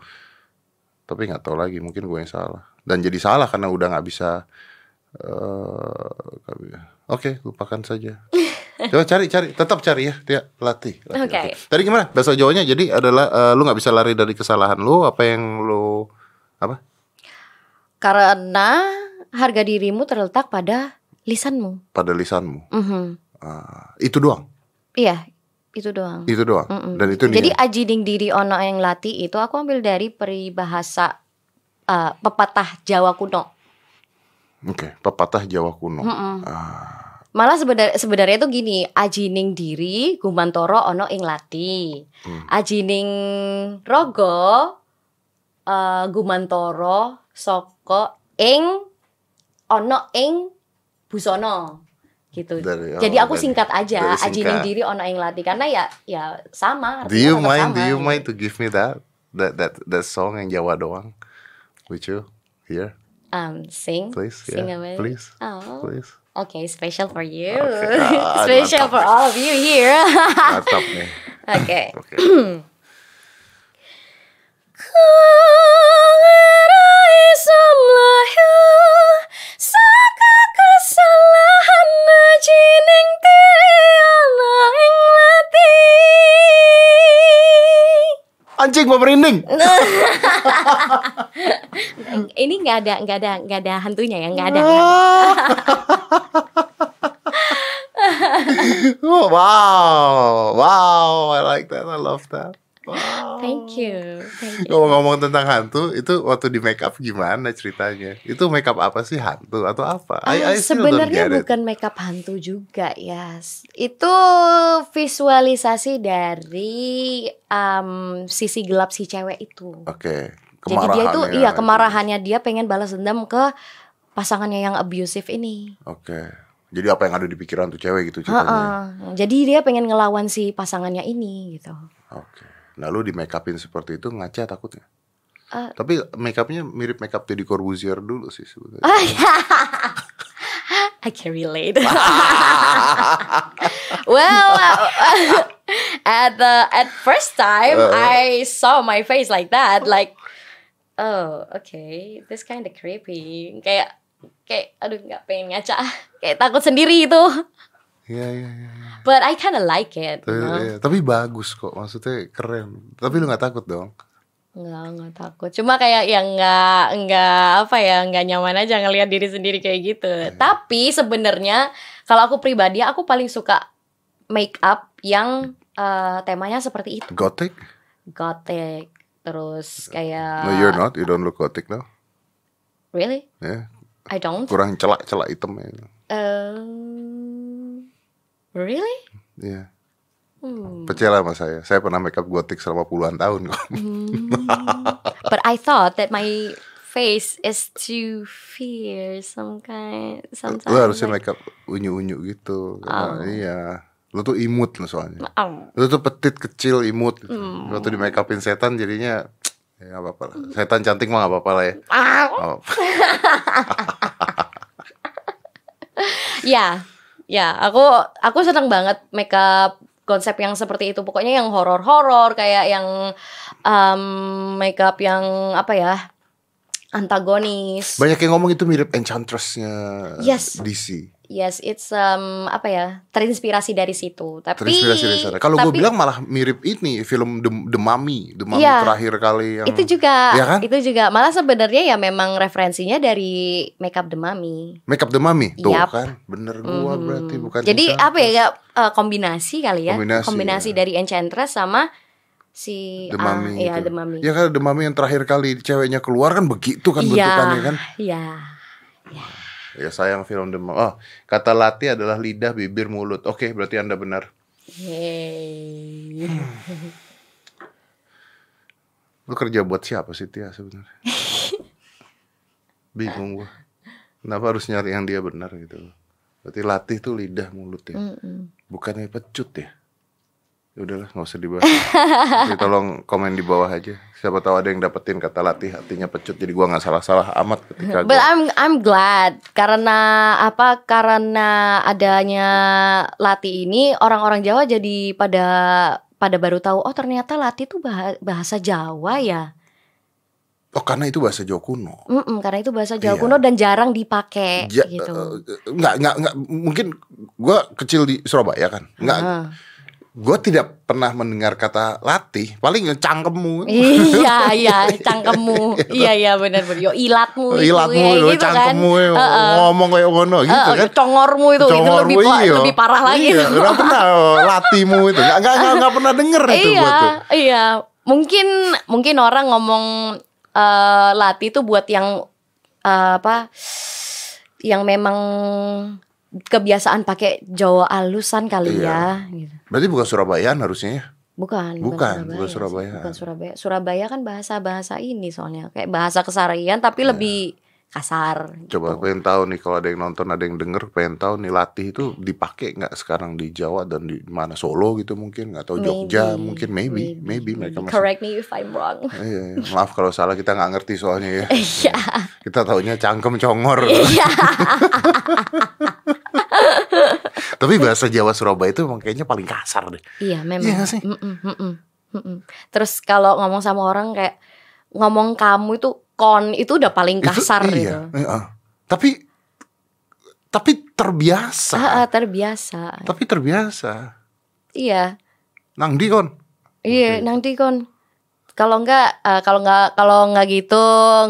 [SPEAKER 1] Tapi nggak tahu lagi mungkin gue yang salah. Dan jadi salah karena udah nggak bisa. eh, Oke lupakan saja. Coba cari cari tetap cari ya dia latih. latih,
[SPEAKER 2] Oke.
[SPEAKER 1] latih. Tadi gimana bahasa Jawanya? Jadi adalah eh, lu nggak bisa lari dari kesalahan lu. Apa yang lu apa?
[SPEAKER 2] Karena harga dirimu terletak pada lisanmu.
[SPEAKER 1] Pada lisanmu.
[SPEAKER 2] Mhm.
[SPEAKER 1] Ah, itu doang.
[SPEAKER 2] Iya, itu doang.
[SPEAKER 1] Itu doang.
[SPEAKER 2] Mm-mm.
[SPEAKER 1] Dan itu dia.
[SPEAKER 2] Jadi ajiding diri ono yang lati itu aku ambil dari peribahasa eh, pepatah Jawa kuno.
[SPEAKER 1] Oke, pepatah Jawa kuno.
[SPEAKER 2] Mm-mm.
[SPEAKER 1] Ah.
[SPEAKER 2] Malah sebenar- sebenarnya tuh gini, ajining diri gumantoro ono ing lati.
[SPEAKER 1] Hmm.
[SPEAKER 2] Ajining rogo eh, gumantoro soko ing ono ing busono gitu.
[SPEAKER 1] Dari- oh,
[SPEAKER 2] Jadi aku
[SPEAKER 1] dari-
[SPEAKER 2] singkat aja
[SPEAKER 1] dari singkat.
[SPEAKER 2] ajining diri ono ing lati karena ya ya sama.
[SPEAKER 1] Do
[SPEAKER 2] artinya
[SPEAKER 1] you
[SPEAKER 2] tetap
[SPEAKER 1] mind? Do
[SPEAKER 2] sama,
[SPEAKER 1] you
[SPEAKER 2] gitu.
[SPEAKER 1] mind to give me that that that that song yang Jawa doang? Would you here,
[SPEAKER 2] um sing
[SPEAKER 1] please?
[SPEAKER 2] sing
[SPEAKER 1] yeah,
[SPEAKER 2] away.
[SPEAKER 1] please,
[SPEAKER 2] Oh,
[SPEAKER 1] please.
[SPEAKER 2] okay, special for you.
[SPEAKER 1] Okay. Ah,
[SPEAKER 2] special
[SPEAKER 1] mantap.
[SPEAKER 2] for all of you here.
[SPEAKER 1] Mantap nih.
[SPEAKER 2] okay.
[SPEAKER 1] Oke.
[SPEAKER 2] Kau ngerai semlayu, saka kesalahan.
[SPEAKER 1] anjing mau merinding.
[SPEAKER 2] Ini nggak ada nggak ada nggak ada hantunya ya nggak ada.
[SPEAKER 1] Oh, wow, wow, I like that, I love that. Wow.
[SPEAKER 2] Thank you. Thank you.
[SPEAKER 1] Ngomong-ngomong tentang hantu, itu waktu di make up gimana ceritanya? Itu make up apa sih hantu atau apa?
[SPEAKER 2] Ah,
[SPEAKER 1] I, I still don't
[SPEAKER 2] Sebenarnya
[SPEAKER 1] get it.
[SPEAKER 2] bukan makeup hantu juga ya. Itu visualisasi dari um, sisi gelap si cewek itu.
[SPEAKER 1] Oke,
[SPEAKER 2] Jadi dia itu
[SPEAKER 1] kemarahannya.
[SPEAKER 2] iya kemarahannya dia pengen balas dendam ke pasangannya yang abusive ini.
[SPEAKER 1] Oke. Jadi apa yang ada di pikiran tuh cewek gitu ceritanya?
[SPEAKER 2] Heeh. Jadi dia pengen ngelawan si pasangannya ini gitu.
[SPEAKER 1] Oke. Nah lu di make upin seperti itu ngaca takutnya?
[SPEAKER 2] Eh.
[SPEAKER 1] Tapi make upnya mirip make up Teddy Corbuzier dulu sih sebenarnya.
[SPEAKER 2] Ah, ya. I can relate. well, uh, at the at first time
[SPEAKER 1] Uh-huh.
[SPEAKER 2] I saw my face like that, like oh okay, this kind of creepy. Kayak kayak aduh nggak pengen ngaca, kayak takut sendiri itu.
[SPEAKER 1] Iya iya iya. iya.
[SPEAKER 2] But I kind of like it.
[SPEAKER 1] Tapi,
[SPEAKER 2] you know.
[SPEAKER 1] iya, tapi bagus kok, maksudnya keren. Tapi lu nggak takut dong?
[SPEAKER 2] Enggak, enggak takut. Cuma kayak yang enggak enggak apa ya, enggak nyaman aja ngelihat diri sendiri kayak gitu.
[SPEAKER 1] Iya.
[SPEAKER 2] Tapi sebenarnya kalau aku pribadi aku paling suka make up yang eh, temanya seperti itu.
[SPEAKER 1] Gothic?
[SPEAKER 2] Gothic, terus
[SPEAKER 1] No, you're
[SPEAKER 2] kayak
[SPEAKER 1] not. You don't look gothic now.
[SPEAKER 2] Really?
[SPEAKER 1] Ya,
[SPEAKER 2] I don't.
[SPEAKER 1] kurang celak-celak hitam ya.
[SPEAKER 2] Um, really?
[SPEAKER 1] Iya.
[SPEAKER 2] Hmm.
[SPEAKER 1] Percayalah sama saya. Saya pernah make up gotik selama puluhan tahun kok.
[SPEAKER 2] But I thought that my face is too fierce some kind sometimes.
[SPEAKER 1] Lu harusnya
[SPEAKER 2] like-
[SPEAKER 1] make up unyu-unyu gitu. Karena,
[SPEAKER 2] Oh.
[SPEAKER 1] Iya. Lu tuh imut lu soalnya.
[SPEAKER 2] Oh,
[SPEAKER 1] Lu tuh petit kecil imut. Gitu.
[SPEAKER 2] Hmm.
[SPEAKER 1] Lu tuh di make upin setan jadinya ya gak apa-apa lah. Setan cantik mah gak apa-apa lah ya.
[SPEAKER 2] ah.
[SPEAKER 1] Nggak apa-apa.
[SPEAKER 2] Ya, ya, aku aku seneng banget makeup konsep yang seperti itu. Pokoknya yang horor-horor kayak yang um, makeup yang apa ya? antagonis.
[SPEAKER 1] Banyak yang ngomong itu mirip Enchantress-nya
[SPEAKER 2] Yes.
[SPEAKER 1] DC.
[SPEAKER 2] Yes, it's um apa ya? terinspirasi dari situ. Tapi
[SPEAKER 1] Terinspirasi dari sana. Kalau gue
[SPEAKER 2] tapi
[SPEAKER 1] bilang malah mirip ini film The, The Mummy, The Mummy
[SPEAKER 2] Iya.
[SPEAKER 1] terakhir kali yang
[SPEAKER 2] itu juga
[SPEAKER 1] Iya kan?
[SPEAKER 2] itu juga malah sebenarnya ya memang referensinya dari makeup The Mummy.
[SPEAKER 1] Make up The Mummy tuh
[SPEAKER 2] Yap.
[SPEAKER 1] kan. Bener gua
[SPEAKER 2] Mhm.
[SPEAKER 1] berarti bukan
[SPEAKER 2] Jadi
[SPEAKER 1] Enchantress.
[SPEAKER 2] apa ya ya, eh, kombinasi kali ya?
[SPEAKER 1] Kombinasi, ya.
[SPEAKER 2] dari Enchantress sama si
[SPEAKER 1] The
[SPEAKER 2] ah,
[SPEAKER 1] Mummy
[SPEAKER 2] iya,
[SPEAKER 1] gitu.
[SPEAKER 2] The Mummy.
[SPEAKER 1] Ya kan The Mummy yang terakhir kali ceweknya keluar kan begitu kan bentukannya kan.
[SPEAKER 2] Iya.
[SPEAKER 1] Ya sayang film The Mummy. Oh, kata lati adalah lidah, bibir, mulut. Oke, berarti Anda benar.
[SPEAKER 2] Yeay.
[SPEAKER 1] Lu kerja buat siapa sih Tia sebenarnya? Bingung gua. Kenapa harus nyari yang dia benar gitu. Berarti latih tuh lidah, mulut ya.
[SPEAKER 2] Mm-mm.
[SPEAKER 1] Bukannya pecut ya? Ya udahlah, nggak usah dibahas. Nanti tolong komen di bawah aja. Siapa tahu ada yang dapetin kata latih artinya pecut. Jadi gua nggak salah-salah amat ketika
[SPEAKER 2] But
[SPEAKER 1] gua
[SPEAKER 2] I'm I'm glad karena apa? Karena adanya lati ini orang-orang Jawa jadi pada pada baru tahu oh ternyata lati itu bah- bahasa Jawa ya.
[SPEAKER 1] Oh, karena itu bahasa Jawa kuno.
[SPEAKER 2] Mm-mm, karena itu bahasa Jawa
[SPEAKER 1] Iya.
[SPEAKER 2] kuno dan jarang dipakai
[SPEAKER 1] Ja-
[SPEAKER 2] gitu.
[SPEAKER 1] eh, nggak nggak nggak mungkin gua kecil di Surabaya kan nggak
[SPEAKER 2] Ah.
[SPEAKER 1] gua tidak pernah mendengar kata latih paling cangkemmu kan?
[SPEAKER 2] iya iya cangkemmu iya iya benar benar yo ilatmu itu,
[SPEAKER 1] ilatmu
[SPEAKER 2] ya,
[SPEAKER 1] lu,
[SPEAKER 2] gitu kan.
[SPEAKER 1] cangkemmu ya,
[SPEAKER 2] Heeh.
[SPEAKER 1] ngomong kayak ngono gitu
[SPEAKER 2] Eh,
[SPEAKER 1] kan
[SPEAKER 2] congormu itu, itu
[SPEAKER 1] Congormu,
[SPEAKER 2] lebih pa-
[SPEAKER 1] iya.
[SPEAKER 2] lebih parah lagi
[SPEAKER 1] iya,
[SPEAKER 2] tuh.
[SPEAKER 1] nggak pernah oh, latihmu itu nggak nggak nggak- nggak pernah denger itu
[SPEAKER 2] iya,
[SPEAKER 1] gua tuh
[SPEAKER 2] iya. Mungkin mungkin orang ngomong eh lati itu buat yang eh, apa? Yang memang kebiasaan pakai Jawa alusan kali ya.
[SPEAKER 1] Iya.
[SPEAKER 2] gitu.
[SPEAKER 1] berarti bukan Surabayaan harusnya ya
[SPEAKER 2] Bukan,
[SPEAKER 1] Bukan, bukan
[SPEAKER 2] sih,
[SPEAKER 1] Surabaya.
[SPEAKER 2] Bukan Surabaya. Surabaya kan bahasa-bahasa ini soalnya kayak bahasa kesarian tapi
[SPEAKER 1] Iya.
[SPEAKER 2] lebih kasar.
[SPEAKER 1] coba pengen tahu nih kalau ada yang nonton ada yang denger pengen tahu nih latih itu dipakai nggak sekarang di Jawa dan di mana Solo gitu mungkin nggak tahu Jogja mungkin maybe maybe, mereka masih
[SPEAKER 2] Correct me if I'm wrong.
[SPEAKER 1] Iya, iya. maaf kalau salah kita nggak ngerti soalnya ya.
[SPEAKER 2] Iya.
[SPEAKER 1] Kita taunya cangkem congor.
[SPEAKER 2] Iya.
[SPEAKER 1] Tapi bahasa Jawa Surabaya itu emang kayaknya paling kasar deh.
[SPEAKER 2] Iya memang.
[SPEAKER 1] Iya nggak sih?
[SPEAKER 2] Mm-mm, mm-mm, mm-mm. Terus kalau ngomong sama orang kayak ngomong kamu itu kon itu udah paling kasar
[SPEAKER 1] itu,
[SPEAKER 2] gitu.
[SPEAKER 1] iya. Iya. Tapi tapi terbiasa.
[SPEAKER 2] Ah, ah, terbiasa.
[SPEAKER 1] Tapi terbiasa.
[SPEAKER 2] Iya.
[SPEAKER 1] Nang di kon.
[SPEAKER 2] Iya, nanti kon Kalau enggak eh, kalau enggak kalau enggak gitu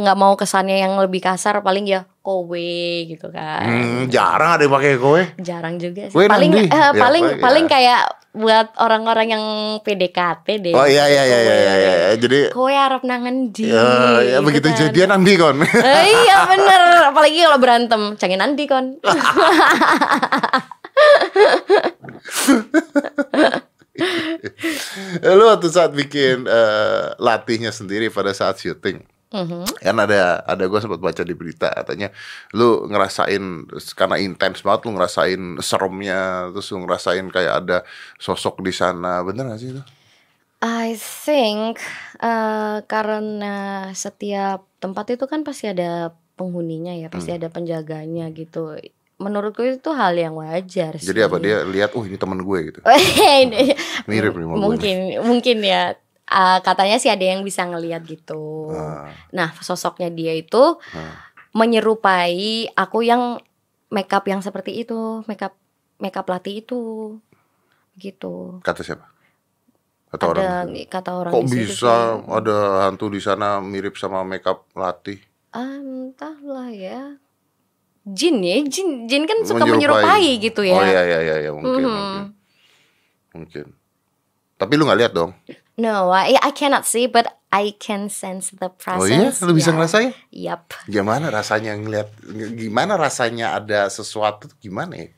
[SPEAKER 2] nggak mau kesannya yang lebih kasar paling ya kowe gitu kan.
[SPEAKER 1] Hmm, jarang ada yang pakai kowe.
[SPEAKER 2] Jarang juga sih.
[SPEAKER 1] Kowe
[SPEAKER 2] paling eh,
[SPEAKER 1] nanti. Ya,
[SPEAKER 2] paling
[SPEAKER 1] kowe, ya.
[SPEAKER 2] paling kayak buat orang-orang yang PDKT deh.
[SPEAKER 1] Oh iya iya iya iya iya. iya. Jadi
[SPEAKER 2] Kowe arep nangan di.
[SPEAKER 1] eh, ya
[SPEAKER 2] gitu
[SPEAKER 1] begitu
[SPEAKER 2] kan.
[SPEAKER 1] jadian nanti kon.
[SPEAKER 2] Eh, iya bener apalagi kalau berantem cangin Andi kon
[SPEAKER 1] Lu waktu saat bikin eh, latihnya sendiri pada saat syuting.
[SPEAKER 2] Mhm.
[SPEAKER 1] kan ada ada gue sempat baca di berita katanya lu ngerasain karena intens banget lu ngerasain seremnya terus lu ngerasain kayak ada sosok di sana bener gak sih itu
[SPEAKER 2] I think eh, karena setiap tempat itu kan pasti ada penghuninya ya,
[SPEAKER 1] Hmm.
[SPEAKER 2] pasti ada penjaganya gitu. Menurutku itu hal yang wajar sih.
[SPEAKER 1] jadi apa dia lihat oh ini temen gue gitu
[SPEAKER 2] Ini-
[SPEAKER 1] mirip nih sama gue nih.
[SPEAKER 2] mungkin mungkin ya Ah, katanya sih ada yang bisa ngelihat gitu.
[SPEAKER 1] Ah,
[SPEAKER 2] Nah, sosoknya dia itu
[SPEAKER 1] Hmm.
[SPEAKER 2] menyerupai aku yang makeup yang seperti itu, makeup makeup latih itu. Gitu.
[SPEAKER 1] kata siapa kata orang
[SPEAKER 2] ada kata orang
[SPEAKER 1] kok
[SPEAKER 2] di situ
[SPEAKER 1] bisa
[SPEAKER 2] sih.
[SPEAKER 1] ada hantu di sana mirip sama makeup latih
[SPEAKER 2] Ah, entahlah ya jin ya jin jin kan suka
[SPEAKER 1] Menyerupai.
[SPEAKER 2] menyerupai gitu ya
[SPEAKER 1] oh iya iya iya ya, mungkin
[SPEAKER 2] Mhm.
[SPEAKER 1] mungkin mungkin tapi lu nggak lihat dong
[SPEAKER 2] no I, I cannot see but I can sense the
[SPEAKER 1] oh iya
[SPEAKER 2] presence
[SPEAKER 1] lu bisa
[SPEAKER 2] Yeah.
[SPEAKER 1] ngerasain
[SPEAKER 2] Yap.
[SPEAKER 1] Gimana rasanya ngelihat gimana rasanya ada sesuatu tuh gimana ya?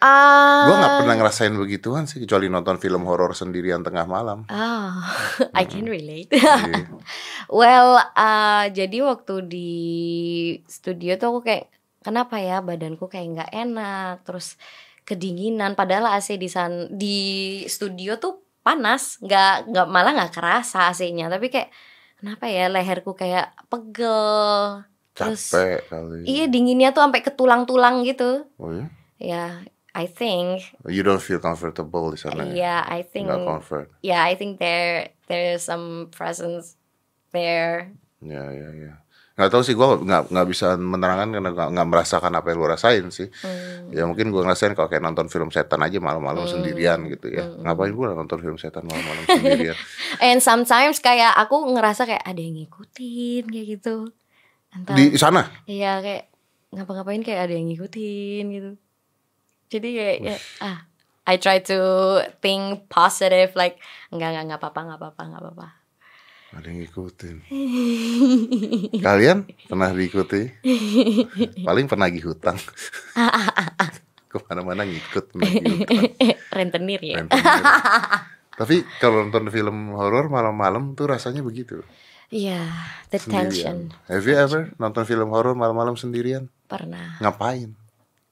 [SPEAKER 2] ah
[SPEAKER 1] Gua nggak pernah ngerasain begituan sih kecuali nonton film horor sendirian tengah malam.
[SPEAKER 2] ah, I can relate
[SPEAKER 1] Iya.
[SPEAKER 2] well ah, jadi waktu di studio tuh aku kayak kenapa ya badanku kayak nggak enak terus kedinginan padahal AC di san di studio tuh panas nggak nggak malah nggak kerasa AC-nya tapi kayak kenapa ya leherku kayak pegel Terus-
[SPEAKER 1] Capek kali.
[SPEAKER 2] iya dinginnya tuh sampai ke tulang-tulang gitu
[SPEAKER 1] Oh iya?
[SPEAKER 2] ya I think
[SPEAKER 1] You don't feel comfortable di sana. ya?
[SPEAKER 2] yeah I think
[SPEAKER 1] Nggak comfort.
[SPEAKER 2] yeah I think there there's some presence there
[SPEAKER 1] Ya ya ya. Nggak tahu sih gua nggak nggak bisa menerangkan karena nggak nggak merasakan apa yang lu rasain sih.
[SPEAKER 2] Hmm.
[SPEAKER 1] Ya mungkin gua ngerasain kalau kayak nonton film setan aja malam-malam sendirian gitu ya. Ngapain gua nonton film setan malam-malam sendirian?
[SPEAKER 2] And sometimes kayak aku ngerasa kayak ada yang ngikutin kayak gitu. Entah
[SPEAKER 1] di sana?
[SPEAKER 2] iya kayak ngapa-ngapain kayak ada yang ngikutin gitu. Jadi kayak ya, ah I try to think positive like enggak enggak enggak apa-apa enggak apa-apa enggak apa-apa.
[SPEAKER 1] Ada yang ngikutin. Kalian pernah diikuti? Paling penagih hutang. Kemana-mana ngikut penagih hutang.
[SPEAKER 2] Rentenir ya.
[SPEAKER 1] Rentenir. Tapi kalau nonton film horor malam-malam tuh rasanya begitu.
[SPEAKER 2] Iya, the tension
[SPEAKER 1] Sendirian. Have you ever nonton film horor malam-malam sendirian?
[SPEAKER 2] pernah.
[SPEAKER 1] Ngapain?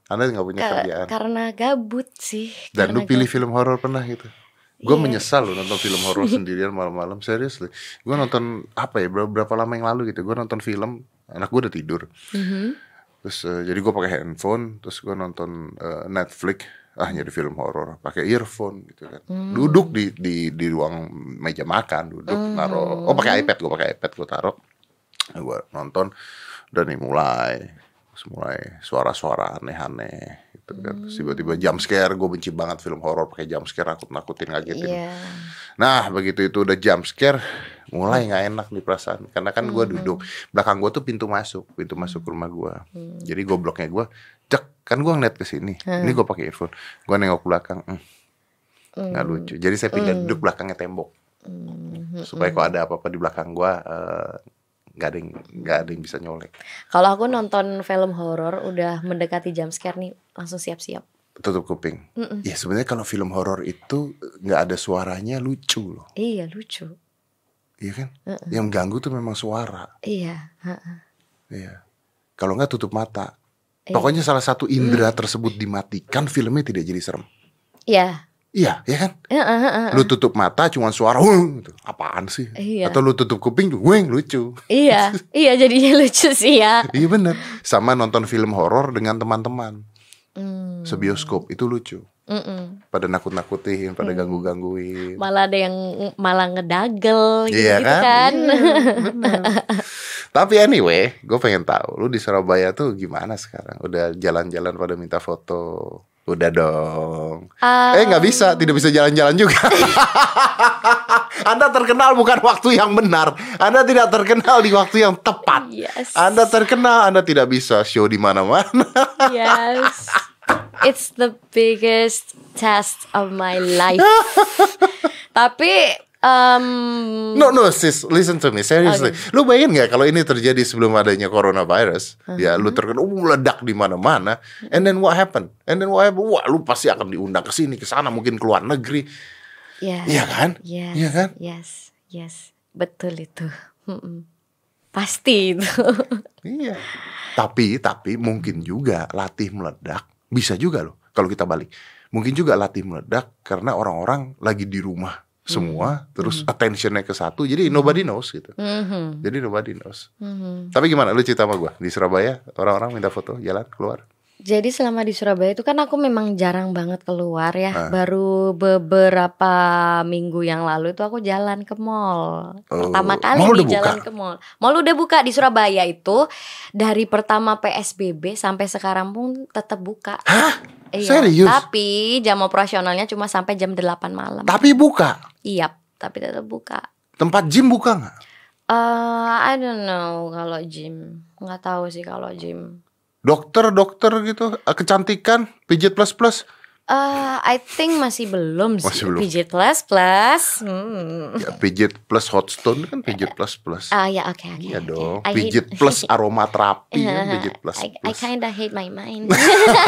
[SPEAKER 1] Anda nggak punya
[SPEAKER 2] Ka-
[SPEAKER 1] kerjaan.
[SPEAKER 2] karena gabut sih.
[SPEAKER 1] Dan lu
[SPEAKER 2] karena
[SPEAKER 1] pilih film horor pernah gitu. Gue
[SPEAKER 2] Iya.
[SPEAKER 1] menyesal loh nonton film horor sendirian malam-malam. Serius loh. Gue nonton apa ya ber- berapa lama yang lalu gitu. Gue nonton film. Anak gue udah tidur.
[SPEAKER 2] gabut. Mhm.
[SPEAKER 1] Terus eh, jadi gue pakai handphone. Terus gue nonton eh, Netflix. Ah nyari film horor. Pakai earphone gitu kan. Duduk di di di ruang meja makan. Duduk taruh. Oh pakai iPad. Gue pakai iPad gue taruh. Gue nonton. Dan nih mulai Terus mulai suara-suara aneh-aneh gitu kan. Terus tiba-tiba jump scare, gue benci banget film horor pakai jump scare, nakut-nakutin ngagetin.
[SPEAKER 2] Iya.
[SPEAKER 1] Nah, begitu itu udah jump scare, mulai nggak enak nih perasaan. Karena kan gua duduk belakang gua tuh pintu masuk, pintu masuk rumah gua. Jadi gobloknya gua, cek kan gua ngeliat ke sini. Ini gua pakai earphone. Gua nengok belakang, hmm, nggak
[SPEAKER 2] Hmm.
[SPEAKER 1] lucu. Jadi saya pindah duduk belakangnya tembok
[SPEAKER 2] Mm-hmm.
[SPEAKER 1] supaya kalau ada apa-apa di belakang gua eh, nggak ada yang nggak ada yang bisa nyolek.
[SPEAKER 2] Kalau aku nonton film horor udah mendekati jam scare nih langsung siap-siap.
[SPEAKER 1] Tutup kuping.
[SPEAKER 2] Hmm.
[SPEAKER 1] Ya sebenarnya kalau film horor itu nggak ada suaranya lucu loh,
[SPEAKER 2] Iya lucu.
[SPEAKER 1] iya kan? Yang ganggu tuh memang suara.
[SPEAKER 2] Iya. ha-ha.
[SPEAKER 1] Iya. Kalau nggak tutup mata.
[SPEAKER 2] Iya.
[SPEAKER 1] Pokoknya salah satu indera tersebut dimatikan, filmnya tidak jadi serem.
[SPEAKER 2] Iya.
[SPEAKER 1] Iya, ya kan?
[SPEAKER 2] Ha-ha, ha-ha.
[SPEAKER 1] Lu tutup mata cuman suara "Weng," gitu. Apaan sih?
[SPEAKER 2] Iya.
[SPEAKER 1] Atau lu tutup kuping weng lucu.
[SPEAKER 2] Iya. Iya jadinya lucu sih ya.
[SPEAKER 1] iya bener Sama nonton film horor dengan teman-teman
[SPEAKER 2] Hmm,
[SPEAKER 1] sebioskop itu lucu.
[SPEAKER 2] mm-mm.
[SPEAKER 1] Pada nakut-nakutin, pada
[SPEAKER 2] Hmm.
[SPEAKER 1] ganggu-gangguin.
[SPEAKER 2] Malah ada yang malah ngedagel gitu,
[SPEAKER 1] Iya
[SPEAKER 2] gitu
[SPEAKER 1] kan?
[SPEAKER 2] kan.
[SPEAKER 1] Tapi anyway, gue pengen tahu lu di Surabaya tuh gimana sekarang? Udah jalan-jalan pada minta foto. Udah dong.
[SPEAKER 2] Ah,
[SPEAKER 1] Eh nggak bisa, tidak bisa jalan-jalan juga. Anda terkenal bukan waktu yang benar. Anda tidak terkenal di waktu yang tepat.
[SPEAKER 2] Yes.
[SPEAKER 1] Anda terkenal, Anda tidak bisa show di mana-mana.
[SPEAKER 2] Iya. Yes. It's the biggest test of my life. Tapi um,
[SPEAKER 1] No, no, sis, listen to me, seriously. Lu bayangin nggak kalau ini terjadi sebelum adanya coronavirus? Ya, lu terkenal, uh, meledak di mana-mana. And then what happened? And then what happened? Wah, lu pasti akan diundang ke sini, ke sana, mungkin keluar negeri.
[SPEAKER 2] yes.
[SPEAKER 1] Iya kan?
[SPEAKER 2] Yes.
[SPEAKER 1] Iya kan?
[SPEAKER 2] Yes. Yes. Betul itu. Mm-mm. Pasti itu.
[SPEAKER 1] Iya. Tapi tapi mungkin juga latih meledak bisa juga loh kalau kita balik. Mungkin juga latih meledak karena orang-orang lagi di rumah semua terus attentionnya ke satu jadi nobody knows gitu.
[SPEAKER 2] Mhm.
[SPEAKER 1] Jadi nobody knows.
[SPEAKER 2] Mhm.
[SPEAKER 1] Tapi gimana lu cerita sama gua di Surabaya orang-orang minta foto jalan keluar.
[SPEAKER 2] Jadi selama di Surabaya itu kan aku memang jarang banget keluar ya.
[SPEAKER 1] Ah.
[SPEAKER 2] Baru beberapa minggu yang lalu itu aku jalan ke mall. Pertama
[SPEAKER 1] Oh,
[SPEAKER 2] kali
[SPEAKER 1] mall
[SPEAKER 2] nih
[SPEAKER 1] udah
[SPEAKER 2] jalan
[SPEAKER 1] buka?
[SPEAKER 2] ke mall. Mall udah buka di Surabaya itu dari pertama PSBB sampai sekarang pun tetap buka.
[SPEAKER 1] Hah?
[SPEAKER 2] Iya,
[SPEAKER 1] Serius?
[SPEAKER 2] tapi jam operasionalnya cuma sampai jam 8 malam.
[SPEAKER 1] Tapi buka.
[SPEAKER 2] Iya, tapi tetap buka.
[SPEAKER 1] Tempat gym buka nggak?
[SPEAKER 2] Eh, I don't know kalau gym. Nggak tahu sih kalau gym.
[SPEAKER 1] Dokter, dokter gitu, eh, kecantikan, pijit plus plus.
[SPEAKER 2] Eh, I think masih belum sih.
[SPEAKER 1] Masih belum.
[SPEAKER 2] Pijit plus plus. Hmm.
[SPEAKER 1] Ya, pijit plus hot stone kan pijit plus plus.
[SPEAKER 2] Ah ya oke oke.
[SPEAKER 1] Iya
[SPEAKER 2] oke.
[SPEAKER 1] dong,
[SPEAKER 2] I
[SPEAKER 1] pijit
[SPEAKER 2] hate-
[SPEAKER 1] plus aroma terapi, kan, pijit plus.
[SPEAKER 2] I, I
[SPEAKER 1] plus.
[SPEAKER 2] kinda hate my mind.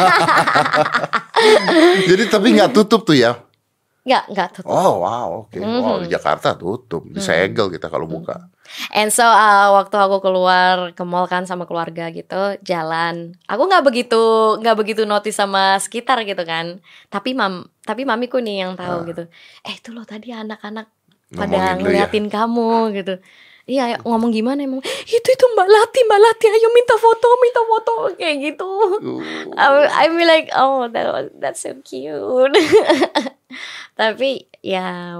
[SPEAKER 1] Jadi tapi nggak tutup tuh ya?
[SPEAKER 2] Nggak nggak tutup.
[SPEAKER 1] Oh wow, oke.
[SPEAKER 2] Mhm.
[SPEAKER 1] Wow di Jakarta tutup, disegel kita kalau buka.
[SPEAKER 2] And so uh, waktu aku keluar ke mall kan sama keluarga gitu jalan, aku nggak begitu nggak begitu notice sama sekitar gitu kan. Tapi mam tapi mamiku nih yang tahu gitu. Eh itu loh tadi anak-anak pada
[SPEAKER 1] Ah. Ngomongin lu ya.
[SPEAKER 2] ngeliatin kamu gitu. Iya ngomong gimana emang itu itu Mbak Lati Mbak Lati ayo minta foto minta foto kayak gitu. I I'm like oh that was, that's so cute. Tapi ya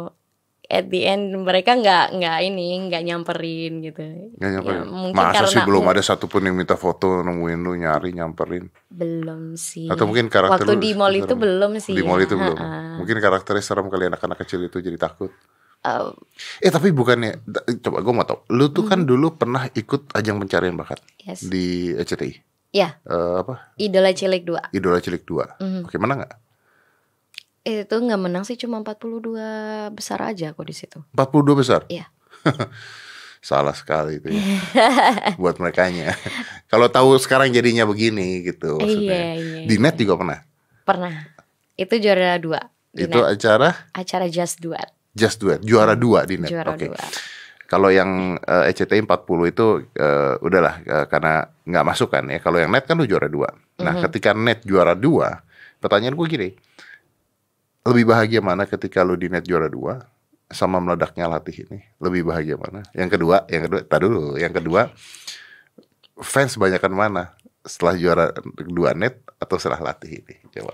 [SPEAKER 2] at the end mereka nggak nggak ini nggak nyamperin gitu.
[SPEAKER 1] Nggak nyamperin.
[SPEAKER 2] Ya, mungkin
[SPEAKER 1] Masa sih
[SPEAKER 2] karena-
[SPEAKER 1] belum ada satupun yang minta foto nemuin lu nyari nyamperin
[SPEAKER 2] Belum sih.
[SPEAKER 1] atau mungkin
[SPEAKER 2] waktu
[SPEAKER 1] karakter lu
[SPEAKER 2] di mall itu
[SPEAKER 1] serem.
[SPEAKER 2] belum sih.
[SPEAKER 1] di mall
[SPEAKER 2] ya.
[SPEAKER 1] itu belum
[SPEAKER 2] Ha-ha.
[SPEAKER 1] mungkin karakternya serem kali anak-anak kecil itu jadi takut
[SPEAKER 2] Eh,
[SPEAKER 1] eh tapi bukannya da- coba gue mau tau lu tuh kan dulu pernah ikut ajang pencarian bakat
[SPEAKER 2] Hmm. yes.
[SPEAKER 1] di ECTI
[SPEAKER 2] Ya,
[SPEAKER 1] Eh, apa
[SPEAKER 2] idola cilik dua.
[SPEAKER 1] idola cilik 2
[SPEAKER 2] Mhm.
[SPEAKER 1] oke menang nggak
[SPEAKER 2] Itu nggak menang sih cuma 42 besar aja aku di situ.
[SPEAKER 1] 42 besar?
[SPEAKER 2] Iya.
[SPEAKER 1] Salah sekali itu ya. Buat merekanya. Kalau tahu sekarang jadinya begini gitu
[SPEAKER 2] Iya,
[SPEAKER 1] maksudnya.
[SPEAKER 2] iya.
[SPEAKER 1] Di net juga pernah.
[SPEAKER 2] Pernah. Itu juara dua. Di
[SPEAKER 1] itu
[SPEAKER 2] net.
[SPEAKER 1] acara
[SPEAKER 2] acara Just Duet.
[SPEAKER 1] Just Duet, juara dua di net.
[SPEAKER 2] Juara
[SPEAKER 1] Oke.
[SPEAKER 2] dua.
[SPEAKER 1] Kalau yang eh, ECTI 40 itu eh, udahlah eh, karena nggak masuk kan ya. Kalau yang net kan lu juara dua. Nah,
[SPEAKER 2] Mm-hmm.
[SPEAKER 1] ketika net juara dua, pertanyaan gue gini. Lebih bahagia mana ketika lu di net juara dua sama meledaknya latih ini? Lebih bahagia mana? Yang kedua, yang kedua, tak dulu. Yang kedua, fans banyakan mana? Setelah juara dua net atau setelah latih ini? Coba.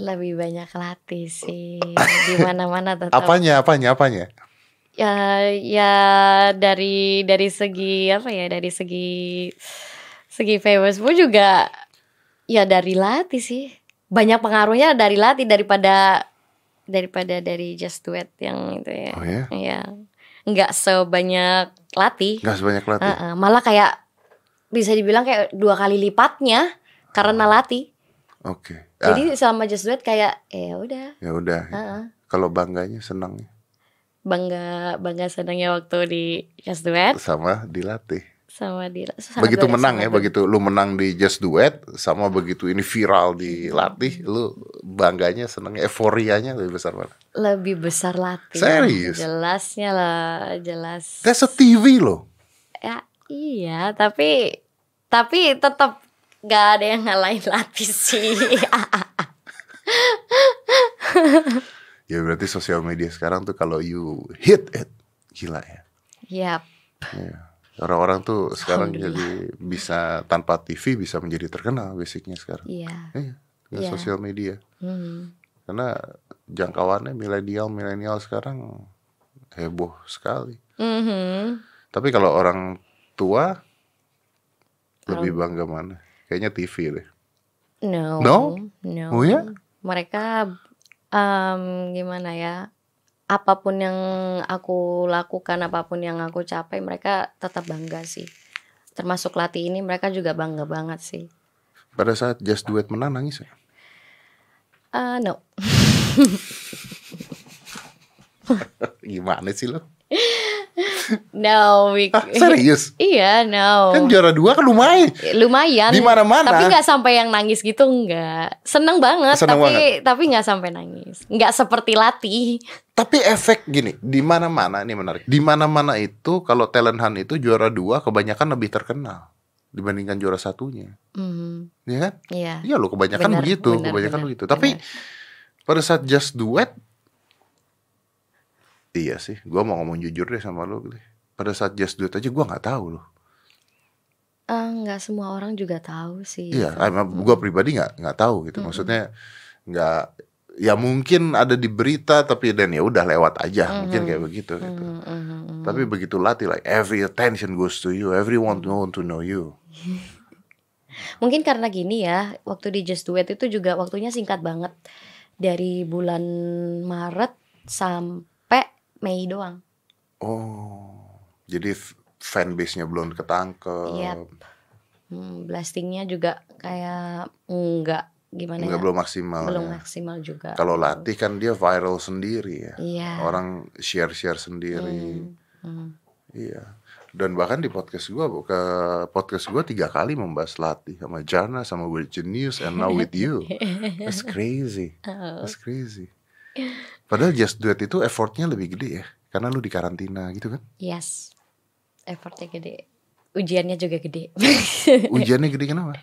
[SPEAKER 2] Lebih banyak latih sih. Di mana-mana tetap.
[SPEAKER 1] Apanya, apanya, apanya?
[SPEAKER 2] ya ya dari dari segi apa ya dari segi segi famous pun juga ya dari latih sih banyak pengaruhnya dari latih daripada daripada dari just duet yang itu ya
[SPEAKER 1] Oh ya,
[SPEAKER 2] ya nggak sebanyak latih
[SPEAKER 1] nggak sebanyak latih.
[SPEAKER 2] Heeh, malah kayak bisa dibilang kayak dua kali lipatnya karena latih
[SPEAKER 1] Oke. Ah,
[SPEAKER 2] jadi selama just duet kayak ya udah
[SPEAKER 1] ya udah.
[SPEAKER 2] Heeh.
[SPEAKER 1] Kalau bangganya, senangnya.
[SPEAKER 2] bangga bangga senangnya waktu di just duet
[SPEAKER 1] sama dilatih.
[SPEAKER 2] sama di sama
[SPEAKER 1] Begitu
[SPEAKER 2] dua-
[SPEAKER 1] menang
[SPEAKER 2] sama
[SPEAKER 1] ya,
[SPEAKER 2] dua.
[SPEAKER 1] begitu lu menang di Just Duet, sama begitu ini viral di latih, lu bangganya, seneng, euforianya lebih besar mana?
[SPEAKER 2] lebih besar latih.
[SPEAKER 1] Serius?
[SPEAKER 2] Jelasnya lah, jelas.
[SPEAKER 1] That's a TV loh.
[SPEAKER 2] Ya, iya, tapi tapi tetap nggak ada yang ngalahin latih sih.
[SPEAKER 1] Ya berarti sosial media sekarang tuh kalau you hit it, gila ya.
[SPEAKER 2] Yap.
[SPEAKER 1] Iya. Orang-orang tuh sekarang jadi bisa tanpa TV bisa menjadi terkenal basicnya sekarang.
[SPEAKER 2] iya.
[SPEAKER 1] Iya, dengan
[SPEAKER 2] Iya.
[SPEAKER 1] sosial media.
[SPEAKER 2] Hmm.
[SPEAKER 1] Karena jangkauannya milenial-milenial sekarang heboh sekali.
[SPEAKER 2] Mhm.
[SPEAKER 1] Tapi kalau orang tua lebih bangga mana? Kayaknya TV deh.
[SPEAKER 2] No.
[SPEAKER 1] No?
[SPEAKER 2] No.
[SPEAKER 1] Oh ya?
[SPEAKER 2] Mereka em, gimana ya? Apapun yang aku lakukan, apapun yang aku capai, mereka tetap bangga sih. Termasuk latih ini mereka juga bangga banget sih.
[SPEAKER 1] Pada saat Just Duet menang nangis ya?
[SPEAKER 2] Eh, no.
[SPEAKER 1] Gimana sih lo?
[SPEAKER 2] No, we-
[SPEAKER 1] Hah, Ah, serius?
[SPEAKER 2] Iya, no.
[SPEAKER 1] Kan juara dua kan lumayan.
[SPEAKER 2] Lumayan.
[SPEAKER 1] Di mana-mana.
[SPEAKER 2] Tapi nggak sampai yang nangis gitu nggak. Seneng banget,
[SPEAKER 1] Seneng
[SPEAKER 2] tapi tapi nggak sampai nangis. Nggak seperti latih.
[SPEAKER 1] Tapi efek gini, di mana-mana ini menarik. Di mana-mana itu kalau talent hunt itu juara dua kebanyakan lebih terkenal dibandingkan juara satunya.
[SPEAKER 2] Hmm,
[SPEAKER 1] Ya kan?
[SPEAKER 2] iya.
[SPEAKER 1] Iya loh kebanyakan
[SPEAKER 2] Benar,
[SPEAKER 1] begitu,
[SPEAKER 2] benar,
[SPEAKER 1] kebanyakan
[SPEAKER 2] benar,
[SPEAKER 1] begitu. Tapi
[SPEAKER 2] benar.
[SPEAKER 1] pada saat just duet Iya sih, gua mau ngomong jujur deh sama lo Pada saat just duet aja gua nggak tahu loh.
[SPEAKER 2] Eh, nggak semua orang juga tahu sih.
[SPEAKER 1] Iya, emang gua pribadi nggak nggak tahu gitu. Maksudnya nggak ya mungkin ada di berita tapi dan ya udah lewat aja mungkin kayak begitu gitu.
[SPEAKER 2] Mm, mm, mm, mm.
[SPEAKER 1] Tapi begitu latih like every attention goes to you, everyone want to know you.
[SPEAKER 2] Mungkin karena gini ya, waktu di Just Duet itu juga waktunya singkat banget. Dari bulan Maret sampai Mei doang.
[SPEAKER 1] Oh, jadi f- fanbase-nya belum ketangkep.
[SPEAKER 2] Yap. Hmm, blastingnya juga kayak nggak gimana
[SPEAKER 1] Nggak
[SPEAKER 2] ya?
[SPEAKER 1] belum maksimal.
[SPEAKER 2] Belum
[SPEAKER 1] ya.
[SPEAKER 2] maksimal juga.
[SPEAKER 1] Kalau latih kan dia viral sendiri ya.
[SPEAKER 2] Iya.
[SPEAKER 1] Orang share-share sendiri.
[SPEAKER 2] Hmm, hmm.
[SPEAKER 1] Iya. Dan bahkan di podcast gua ke podcast gua tiga kali membahas latih sama Jana sama with Genius and now with you. That's crazy.
[SPEAKER 2] Oh.
[SPEAKER 1] That's crazy. Padahal just duet itu effortnya lebih gede ya. Karena lu di karantina gitu kan.
[SPEAKER 2] Yes. Effortnya gede. Ujiannya juga gede.
[SPEAKER 1] Ujiannya gede kenapa?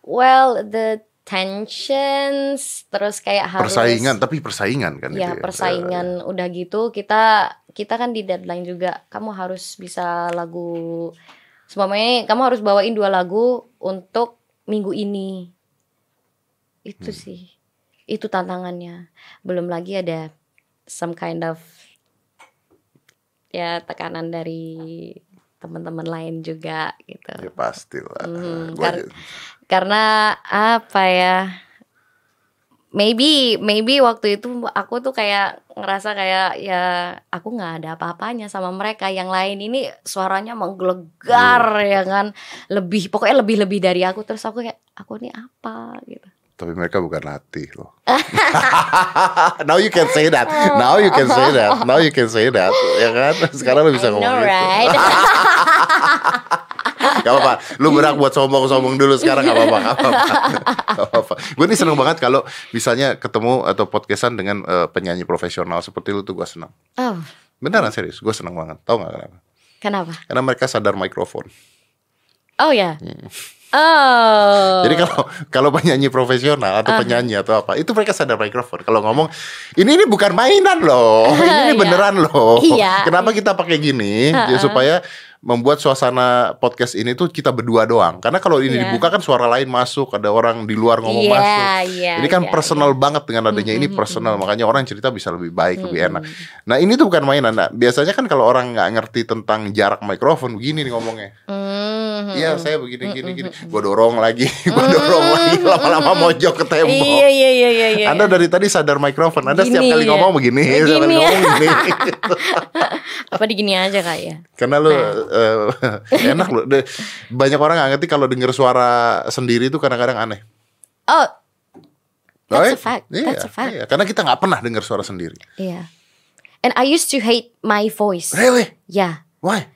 [SPEAKER 2] well, the tensions terus kayak harus
[SPEAKER 1] Persaingan, tapi persaingan kan
[SPEAKER 2] ya
[SPEAKER 1] itu ya.
[SPEAKER 2] persaingan udah gitu kita kita kan di deadline juga kamu harus bisa lagu semuanya kamu harus bawain dua lagu untuk minggu ini itu sih itu tantangannya belum lagi ada some kind of ya tekanan dari teman-teman lain juga gitu
[SPEAKER 1] Ya pastilah.
[SPEAKER 2] Hmm,
[SPEAKER 1] Gua
[SPEAKER 2] kar-
[SPEAKER 1] aja-
[SPEAKER 2] karena apa ya maybe maybe waktu itu aku tuh kayak ngerasa kayak ya aku nggak ada apa-apanya sama mereka yang lain ini suaranya menggelegar
[SPEAKER 1] Hmm.
[SPEAKER 2] ya kan lebih pokoknya lebih lebih dari aku terus aku kayak aku ini apa gitu
[SPEAKER 1] Tapi mereka bukan latih loh. Now you can say that. Now you can say that. Now you can say that. Ya kan? Sekarang lu
[SPEAKER 2] I
[SPEAKER 1] bisa
[SPEAKER 2] know,
[SPEAKER 1] ngomong gitu.
[SPEAKER 2] right?
[SPEAKER 1] Gak apa-apa. Lu berak buat sombong-sombong dulu sekarang gak apa-apa. Gak apa-apa. Gak apa-apa. Gue nih seneng banget kalau misalnya ketemu atau podcastan dengan eh, penyanyi profesional seperti lu tuh gue seneng.
[SPEAKER 2] oh
[SPEAKER 1] Beneran serius, gue seneng banget. Tau gak kenapa?
[SPEAKER 2] kenapa
[SPEAKER 1] Karena mereka sadar mikrofon.
[SPEAKER 2] oh ya
[SPEAKER 1] Hmm.
[SPEAKER 2] oh
[SPEAKER 1] Jadi kalau kalau penyanyi
[SPEAKER 2] Ah.
[SPEAKER 1] profesional atau penyanyi atau apa, itu mereka sadar mikrofon. Kalau ngomong, ini ini bukan mainan loh, ini, ini
[SPEAKER 2] Iya.
[SPEAKER 1] beneran loh.
[SPEAKER 2] Iya.
[SPEAKER 1] Kenapa kita pakai gini? Ya, supaya membuat suasana podcast ini tuh kita berdua doang. Karena kalau ini
[SPEAKER 2] Iya.
[SPEAKER 1] dibuka kan suara lain masuk, ada orang di luar ngomong
[SPEAKER 2] Iya,
[SPEAKER 1] masuk.
[SPEAKER 2] iya,
[SPEAKER 1] ini
[SPEAKER 2] iya,
[SPEAKER 1] kan personal banget dengan adanya ini personal, makanya orang cerita bisa lebih baik, lebih enak.
[SPEAKER 2] Mm.
[SPEAKER 1] Nah ini tuh bukan mainan. Nah, biasanya kan kalau orang nggak ngerti tentang jarak mikrofon begini nih ngomongnya.
[SPEAKER 2] Hmm.
[SPEAKER 1] Iya saya begini gini gini Gue dorong lagi Gue dorong lagi Lama-lama mojok ke tembok
[SPEAKER 2] iya iya iya iya iya
[SPEAKER 1] Anda dari tadi sadar mikrofon Anda setiap
[SPEAKER 2] Gini
[SPEAKER 1] kali
[SPEAKER 2] ya.
[SPEAKER 1] ngomong begini Setiap kali
[SPEAKER 2] Begini ya.
[SPEAKER 1] ngomong begini
[SPEAKER 2] apa di gini aja kak ya
[SPEAKER 1] Karena lu eh, Enak lu De- Banyak orang gak ngerti Kalau denger suara sendiri itu kadang-kadang aneh
[SPEAKER 2] oh That's a
[SPEAKER 1] Right?
[SPEAKER 2] fact.
[SPEAKER 1] Iya,
[SPEAKER 2] That's a fact.
[SPEAKER 1] iya. Karena kita nggak pernah dengar suara sendiri
[SPEAKER 2] Iya. And I used to hate my voice.
[SPEAKER 1] Really?
[SPEAKER 2] Ya.
[SPEAKER 1] Why?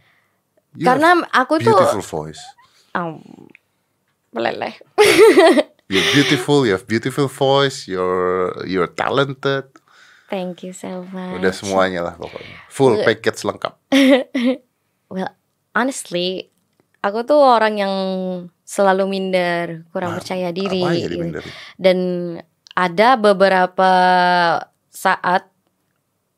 [SPEAKER 1] You have
[SPEAKER 2] Karena aku tuh
[SPEAKER 1] Beautiful voice
[SPEAKER 2] Au. meleleh.
[SPEAKER 1] You're beautiful You have beautiful voice You're You're talented
[SPEAKER 2] Thank you so much.
[SPEAKER 1] Udah semuanya lah pokoknya Full
[SPEAKER 2] Iya.
[SPEAKER 1] package lengkap
[SPEAKER 2] Well, honestly, aku tuh orang yang selalu minder, kurang percaya diri.
[SPEAKER 1] Nah, Apa yang
[SPEAKER 2] gitu.
[SPEAKER 1] dimindarin?
[SPEAKER 2] Dan ada beberapa saat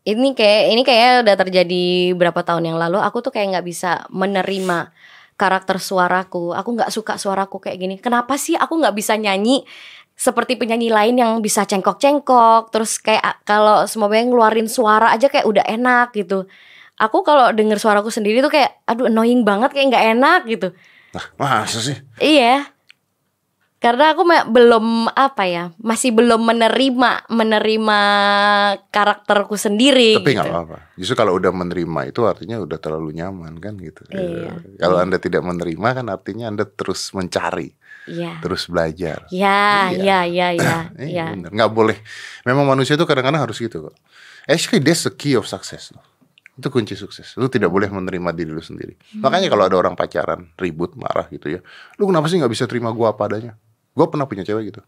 [SPEAKER 2] ini kayak ini kayak udah terjadi berapa tahun yang lalu aku tuh kayak nggak bisa menerima karakter suaraku aku nggak suka suaraku kayak gini kenapa sih aku nggak bisa nyanyi seperti penyanyi lain yang bisa cengkok-cengkok terus kayak a- kalau semuanya ngeluarin suara aja kayak udah enak gitu aku kalau denger suaraku sendiri tuh kayak aduh annoying banget kayak nggak enak gitu
[SPEAKER 1] Nah, masa sih?
[SPEAKER 2] iya karena aku ma- belum apa ya masih belum menerima menerima karakterku sendiri
[SPEAKER 1] Tapi nggak
[SPEAKER 2] gitu.
[SPEAKER 1] apa-apa. Justru kalau udah menerima itu artinya udah terlalu nyaman kan gitu.
[SPEAKER 2] Iya.
[SPEAKER 1] Kalau
[SPEAKER 2] Iya.
[SPEAKER 1] anda tidak menerima kan artinya anda terus mencari,
[SPEAKER 2] Iya.
[SPEAKER 1] terus belajar.
[SPEAKER 2] Ya,
[SPEAKER 1] Iya.
[SPEAKER 2] ya, ya, ya,
[SPEAKER 1] Eh,
[SPEAKER 2] ya.
[SPEAKER 1] bener. nggak boleh. Memang manusia itu kadang-kadang harus gitu kok. Actually that's the key of success. Itu kunci sukses. Lu tidak boleh menerima diri lu sendiri.
[SPEAKER 2] Hmm.
[SPEAKER 1] Makanya kalau ada orang pacaran ribut marah gitu ya, lu kenapa sih nggak bisa terima gua apa adanya? Gua pernah punya cewek gitu.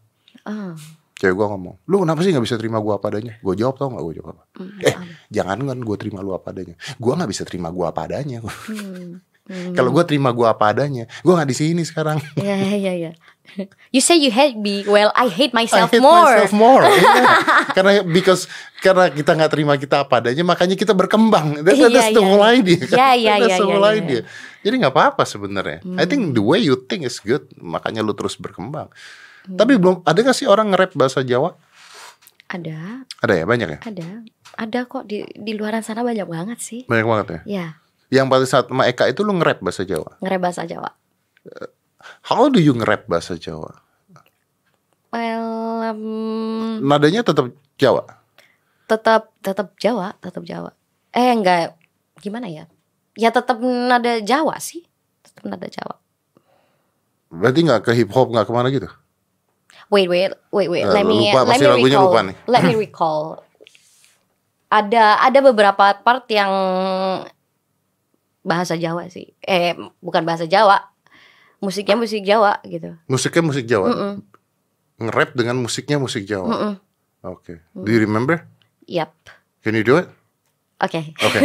[SPEAKER 2] Oh,
[SPEAKER 1] Cewek gua ngomong, lu kenapa sih nggak bisa terima gua apa adanya? Gua jawab tau nggak gua jawab apa?
[SPEAKER 2] mm,
[SPEAKER 1] Eh,
[SPEAKER 2] um,
[SPEAKER 1] jangan kan gue terima lu apa adanya. Gua nggak bisa terima gua apa adanya.
[SPEAKER 2] hmm, hmm.
[SPEAKER 1] Kalau gue terima gua apa adanya, gua nggak di sini sekarang.
[SPEAKER 2] Ya, ya, ya. You say you hate me. Well, I hate
[SPEAKER 1] I
[SPEAKER 2] myself
[SPEAKER 1] hate
[SPEAKER 2] more.
[SPEAKER 1] myself more. Iya. karena because karena kita nggak terima kita apa adanya, makanya kita berkembang. That,
[SPEAKER 2] Iya,
[SPEAKER 1] that's the
[SPEAKER 2] iya.
[SPEAKER 1] whole idea.
[SPEAKER 2] Iya,
[SPEAKER 1] kan?
[SPEAKER 2] iya,
[SPEAKER 1] That's
[SPEAKER 2] iya,
[SPEAKER 1] the
[SPEAKER 2] iya,
[SPEAKER 1] whole
[SPEAKER 2] iya, Hmm.
[SPEAKER 1] idea. Jadi nggak apa-apa sebenarnya. I think the way you think is good, makanya lu terus berkembang.
[SPEAKER 2] Hmm.
[SPEAKER 1] Tapi belum ada nggak sih orang nge-rap bahasa Jawa?
[SPEAKER 2] Ada,
[SPEAKER 1] Ada ya banyak ya,
[SPEAKER 2] ada, ada kok di di luaran sana banyak banget sih.
[SPEAKER 1] banyak banget ya.
[SPEAKER 2] Ya,
[SPEAKER 1] Yang pada saat sama Eka itu lu nge-rap bahasa Jawa.
[SPEAKER 2] ngerap bahasa Jawa.
[SPEAKER 1] How do you nge-rap bahasa Jawa?
[SPEAKER 2] Well, um,
[SPEAKER 1] Nadanya tetap Jawa.
[SPEAKER 2] tetap tetap Jawa, tetap Jawa. Eh, enggak gimana ya? Ya tetap nada Jawa sih. Tetap nada Jawa.
[SPEAKER 1] Berarti nggak ke hip hop nggak kemana gitu?
[SPEAKER 2] Wait, wait, wait, wait.
[SPEAKER 1] Eh,
[SPEAKER 2] Let me
[SPEAKER 1] lupa,
[SPEAKER 2] let
[SPEAKER 1] pasti
[SPEAKER 2] me
[SPEAKER 1] lagunya
[SPEAKER 2] recall.
[SPEAKER 1] lupa nih.
[SPEAKER 2] Let me recall. Ada ada beberapa part yang bahasa Jawa sih. Eh, bukan bahasa Jawa. Musiknya musik Jawa gitu.
[SPEAKER 1] Musiknya musik Jawa.
[SPEAKER 2] Mm-mm,
[SPEAKER 1] Nge-rap dengan musiknya musik Jawa.
[SPEAKER 2] mm-mm.
[SPEAKER 1] Oke. Do you remember?
[SPEAKER 2] Yap.
[SPEAKER 1] Can you do it?
[SPEAKER 2] Okay.
[SPEAKER 1] Oke.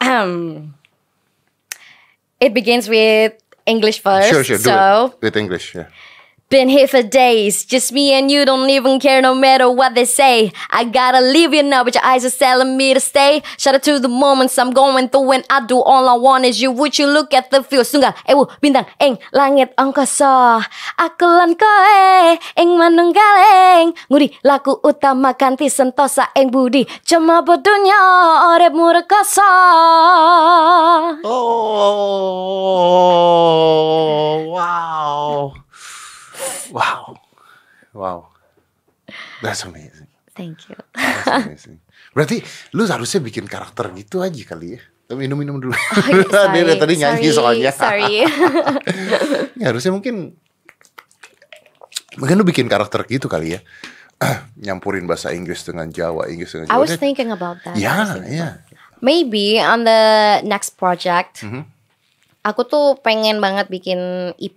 [SPEAKER 2] Um, it begins with English first.
[SPEAKER 1] sure, sure. Do
[SPEAKER 2] so
[SPEAKER 1] it with English. Yeah.
[SPEAKER 2] Been here for days, just me and you don't even care no matter what they say. I gotta leave you now, but your eyes are telling me to stay. Shout out to the moments I'm going through when I do all I want is you. Would you look at the view? Tunggal, ewu, bintang, eng, langit, angkasa. Aku lan koe, eng manunggal eng. Ngudi, laku utama kanti sentosa eng budi. Cuma bodohnya, orep murekosa.
[SPEAKER 1] Oh, wow, wow, wow. That's amazing.
[SPEAKER 2] Thank you.
[SPEAKER 1] That's amazing. Berarti lu harusnya bikin karakter gitu aja kali ya. Tapi minum-minum dulu. Dia dari tadi nyanyi soalnya.
[SPEAKER 2] Oh, iya, Sorry.
[SPEAKER 1] Ya harusnya mungkin Mungkin lu bikin karakter gitu kali ya Nyampurin bahasa Inggris dengan Jawa Inggris dengan
[SPEAKER 2] I
[SPEAKER 1] Jawa
[SPEAKER 2] was thinking about that. I was
[SPEAKER 1] Ya,
[SPEAKER 2] thinking
[SPEAKER 1] ya
[SPEAKER 2] Maybe on the next project,
[SPEAKER 1] Mm-hmm.
[SPEAKER 2] aku tuh pengen banget bikin EP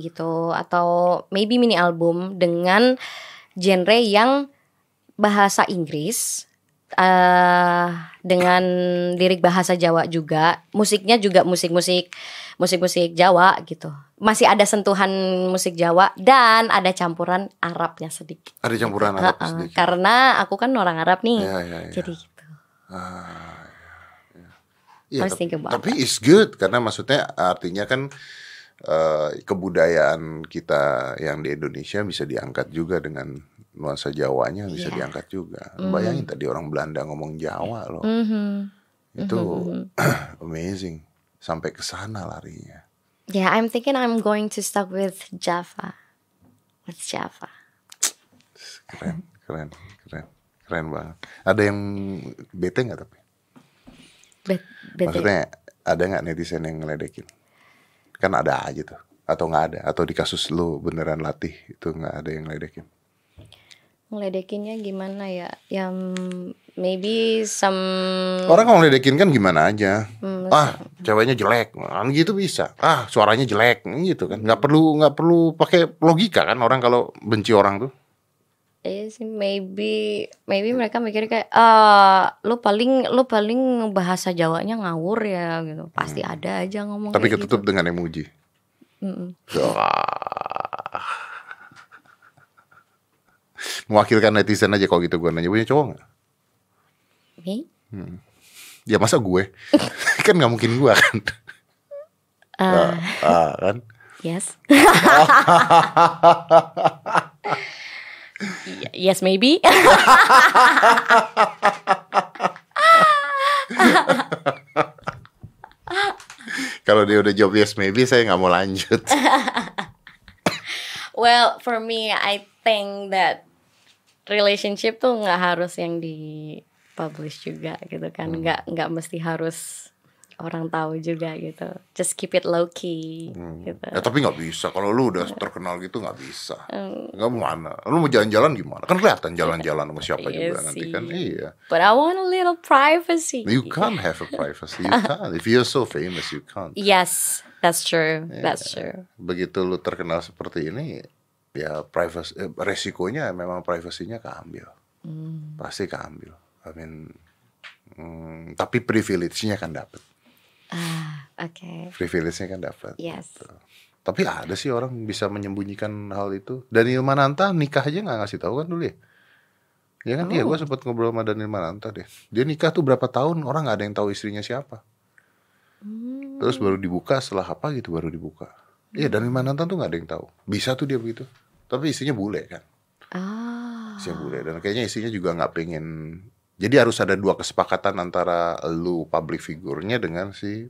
[SPEAKER 2] gitu atau maybe mini album dengan genre yang bahasa Inggris eh dengan lirik bahasa Jawa juga, musiknya juga musik-musik musik-musik Jawa gitu. Masih ada sentuhan musik Jawa dan ada campuran Arabnya sedikit.
[SPEAKER 1] Ada campuran Arab
[SPEAKER 2] Heeh,
[SPEAKER 1] sedikit
[SPEAKER 2] Karena aku kan orang Arab nih.
[SPEAKER 1] Iya, iya, iya.
[SPEAKER 2] Jadi gitu. I
[SPEAKER 1] Iya,
[SPEAKER 2] was
[SPEAKER 1] tapi,
[SPEAKER 2] thinking about
[SPEAKER 1] tapi it's good Karena maksudnya artinya kan eh, Kebudayaan kita yang di Indonesia bisa diangkat juga dengan nuansa Jawanya bisa
[SPEAKER 2] Iya.
[SPEAKER 1] diangkat juga Bayangin tadi orang Belanda ngomong Jawa loh
[SPEAKER 2] Mhm.
[SPEAKER 1] Itu
[SPEAKER 2] mm.
[SPEAKER 1] amazing Sampai ke sana larinya
[SPEAKER 2] Yeah, I'm thinking I'm going to stuck with Java. With Java.
[SPEAKER 1] keren keren keren keren banget ada yang bete nggak tapi
[SPEAKER 2] Bet, bet,
[SPEAKER 1] maksudnya ada nggak netizen yang ngeledekin kan ada aja tuh atau nggak ada atau di kasus lu beneran latih itu nggak ada yang ngeledekin
[SPEAKER 2] ngeledekinnya gimana ya? Yang maybe some mm,
[SPEAKER 1] orang kalau ngeledekin kan gimana aja ah ceweknya jelek kan gitu bisa ah suaranya jelek gitu kan nggak perlu nggak perlu pakai logika kan orang kalau benci orang tuh
[SPEAKER 2] Iya sih, maybe maybe mereka mikir kayak ah lu paling lu paling bahasa Jawanya ngawur ya gitu. Pasti ada aja ngomong
[SPEAKER 1] Hmm. tapi
[SPEAKER 2] kayak
[SPEAKER 1] ketutup
[SPEAKER 2] gitu.
[SPEAKER 1] dengan emoji
[SPEAKER 2] Mm-mm.
[SPEAKER 1] Wah. Mewakilkan netizen aja kalau gitu gue nanya punya cowok nggak?
[SPEAKER 2] Me?
[SPEAKER 1] Ya masa gue? kan nggak mungkin gue kan?
[SPEAKER 2] Ah,
[SPEAKER 1] Ah, kan?
[SPEAKER 2] yes. Y- yes, maybe.
[SPEAKER 1] Kalau dia udah jawab yes maybe saya nggak mau lanjut.
[SPEAKER 2] me, I think that relationship tuh nggak harus yang di publish juga gitu kan. Nggak nggak mesti harus orang tahu juga gitu. Just keep it low key gitu.
[SPEAKER 1] Ya, tapi nggak bisa kalau lu udah terkenal gitu nggak bisa.
[SPEAKER 2] Hmm.
[SPEAKER 1] Nggak mau mana? Lu mau jalan-jalan gimana? Kan kelihatan jalan-jalan sama siapa
[SPEAKER 2] Iya
[SPEAKER 1] juga nanti kan.
[SPEAKER 2] sih. Iya.
[SPEAKER 1] Iya.
[SPEAKER 2] But I want a little privacy.
[SPEAKER 1] You can't have a privacy. You can't. If you're so famous, you can't.
[SPEAKER 2] Iya. Yes, that's true. That's true.
[SPEAKER 1] Begitu lu terkenal seperti ini, ya privacy eh, resikonya memang privasinya keambil.
[SPEAKER 2] Mm.
[SPEAKER 1] Pasti keambil. I mean, mm, tapi privilege-nya kan dapat.
[SPEAKER 2] Ah, okay.
[SPEAKER 1] Privilege-nya kan dapat.
[SPEAKER 2] Yes.
[SPEAKER 1] Tapi ada sih orang bisa menyembunyikan hal itu. Daniel Mananta nikah aja nggak ngasih tahu kan dulu ya? Ya kan, iya gue sempat ngobrol sama Daniel Mananta deh. Dia nikah tuh berapa tahun orang nggak ada yang tahu istrinya siapa.
[SPEAKER 2] Mm.
[SPEAKER 1] Terus baru dibuka setelah apa gitu baru dibuka. Iya Daniel Mananta tuh nggak ada yang tahu. Bisa tuh dia begitu. Tapi istrinya bule kan.
[SPEAKER 2] Ah.
[SPEAKER 1] Isinya bule dan kayaknya isinya juga nggak pengen. Jadi harus ada dua kesepakatan antara lu public figurnya dengan si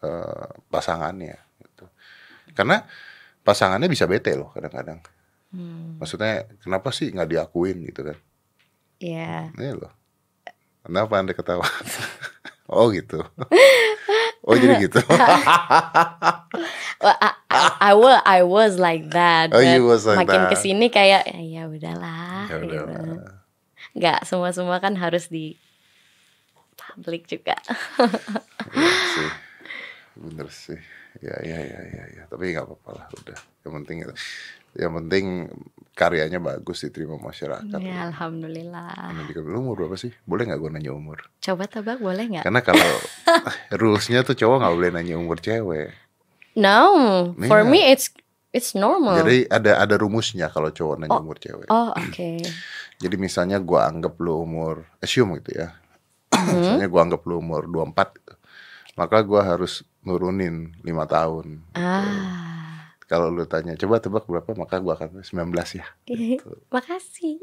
[SPEAKER 1] eh, pasangannya. Gitu. Karena pasangannya bisa bete loh kadang-kadang.
[SPEAKER 2] Hmm.
[SPEAKER 1] Maksudnya kenapa sih nggak diakuin gitu kan?
[SPEAKER 2] Yeah.
[SPEAKER 1] Ini loh. Kenapa anda ketawa? oh gitu. Oh jadi gitu.
[SPEAKER 2] Well, I, I, I was I was like that.
[SPEAKER 1] Oh,
[SPEAKER 2] but
[SPEAKER 1] you was like
[SPEAKER 2] makin
[SPEAKER 1] that.
[SPEAKER 2] kesini kayak "Eh, ya udahlah.
[SPEAKER 1] Ya udah lah.
[SPEAKER 2] gitu. Nggak semua semua kan harus di publik juga.
[SPEAKER 1] Iya sih. Bener sih. Ya ya ya ya ya. Tapi nggak apa-apa lah udah. Yang penting yang penting karyanya bagus diterima masyarakat.
[SPEAKER 2] ya alhamdulillah.
[SPEAKER 1] Pendidikan lu umur berapa sih? Boleh nggak gue nanya umur?
[SPEAKER 2] Coba tebak boleh nggak?
[SPEAKER 1] Karena kalau rulesnya tuh cowok nggak boleh nanya umur cewek.
[SPEAKER 2] No, for
[SPEAKER 1] Iya.
[SPEAKER 2] me it's it's normal.
[SPEAKER 1] Jadi ada ada rumusnya kalau cowok nanya umur cewek.
[SPEAKER 2] oh oke.
[SPEAKER 1] Jadi misalnya gua anggap lu umur assume gitu ya. misalnya gua anggap lu umur 24 gitu. maka gua harus nurunin 5 tahun.
[SPEAKER 2] ah,
[SPEAKER 1] Kalau lu tanya, coba tebak berapa, maka gua akan 19 ya. Gitu.
[SPEAKER 2] makasih.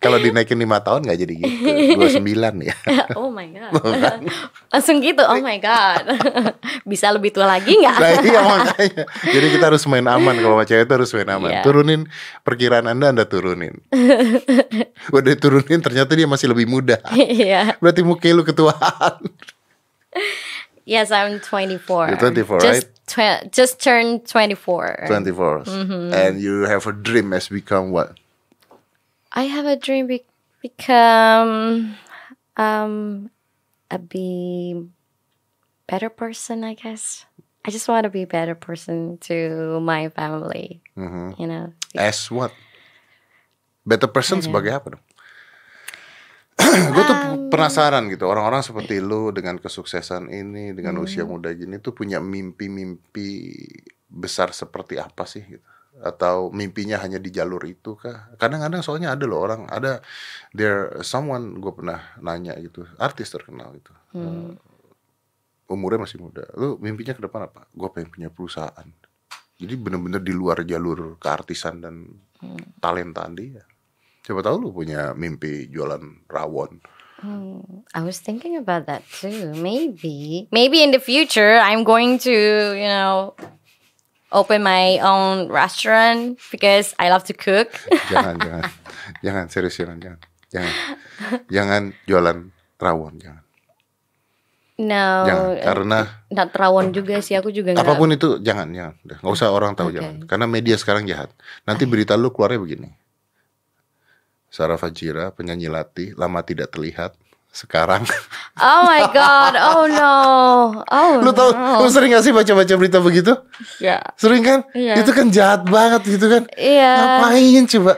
[SPEAKER 1] Kalau dinaikin 5 tahun nggak jadi gitu. 29 ya.
[SPEAKER 2] oh my god. Langsung gitu. Oh my god. Bisa lebih tua lagi nggak?
[SPEAKER 1] Nah, iya makanya. Jadi kita harus main aman kalau sama cewek itu harus main aman.
[SPEAKER 2] Iya.
[SPEAKER 1] Turunin perkiraan Anda, Anda turunin. Udah turunin ternyata dia masih lebih muda.
[SPEAKER 2] Iya.
[SPEAKER 1] Berarti muka lu ketuaan.
[SPEAKER 2] Yes, I'm 24.
[SPEAKER 1] You're
[SPEAKER 2] just
[SPEAKER 1] 24,
[SPEAKER 2] right? Tw- just turned 24.
[SPEAKER 1] 24. And you have a dream as become what?
[SPEAKER 2] I have a dream be- become um a be better person, I guess. I just want to be a better person to my family,
[SPEAKER 1] Mhm.
[SPEAKER 2] you know.
[SPEAKER 1] As what? Better person sebagai apa dong? gue tuh penasaran gitu orang-orang seperti lu dengan kesuksesan ini dengan usia muda gini tuh punya mimpi-mimpi besar seperti apa sih gitu atau mimpinya hanya di jalur itu kah kadang-kadang soalnya ada loh orang ada there someone gue pernah nanya gitu artis terkenal gitu Eh, umurnya masih muda lu mimpinya ke depan apa gue pengen punya perusahaan jadi bener-bener di luar jalur keartisan dan
[SPEAKER 2] Hmm.
[SPEAKER 1] talentaan dia Siapa tahu lu punya mimpi jualan rawon.
[SPEAKER 2] I was thinking about that too. Maybe, maybe in the future, I'm going to, you know, open my own restaurant because I love to cook.
[SPEAKER 1] Jangan, jangan. Jangan serius jangan, jangan. Jangan. Jangan jualan rawon, jangan.
[SPEAKER 2] No,
[SPEAKER 1] Jangan
[SPEAKER 2] eh,
[SPEAKER 1] karena
[SPEAKER 2] nggak terawan juga sih aku juga nggak.
[SPEAKER 1] apapun itu jangan, jangan. Udah, nggak usah orang tahu
[SPEAKER 2] Oke.
[SPEAKER 1] jangan. Karena media sekarang jahat. Nanti berita lu keluarnya begini. Sarah Fajira, penyanyi latih, lama tidak terlihat. Sekarang
[SPEAKER 2] Oh my god, oh no, oh.
[SPEAKER 1] Lu tahu, lu sering gak sih baca-baca berita begitu?
[SPEAKER 2] Ya,
[SPEAKER 1] Sering kan?
[SPEAKER 2] Iya.
[SPEAKER 1] Itu kan jahat banget gitu kan?
[SPEAKER 2] Iya.
[SPEAKER 1] Ngapain coba?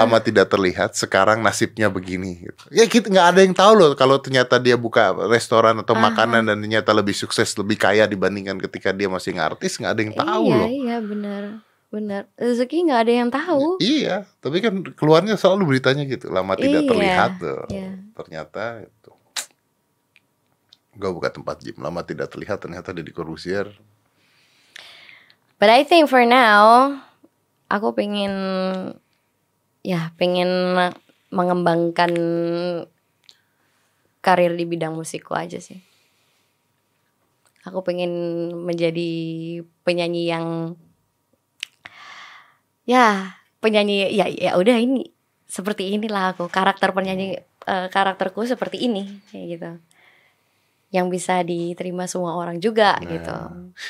[SPEAKER 1] Lama tidak terlihat, sekarang nasibnya begini. Gitu. Ya kita nggak ada yang tahu loh kalau ternyata dia buka restoran atau makanan dan ternyata lebih sukses, lebih kaya dibandingkan ketika dia masih ngartis, nggak ada yang tahu
[SPEAKER 2] iya
[SPEAKER 1] loh.
[SPEAKER 2] iya benar benar. Rezeki nggak ada yang tahu.
[SPEAKER 1] Iya, tapi kan keluarnya selalu beritanya gitu. Lama
[SPEAKER 2] Iya,
[SPEAKER 1] tidak terlihat tuh.
[SPEAKER 2] iya.
[SPEAKER 1] Ternyata itu. Gue buka tempat gym, lama tidak terlihat ternyata dia di korusir.
[SPEAKER 2] But I think for now, aku pengen, ya pengen mengembangkan karir di bidang musikku aja sih. Aku pengen menjadi penyanyi yang ya penyanyi ya ya udah ini seperti inilah aku karakter penyanyi eh, karakterku seperti ini kayak gitu yang bisa diterima semua orang juga
[SPEAKER 1] Nah.
[SPEAKER 2] gitu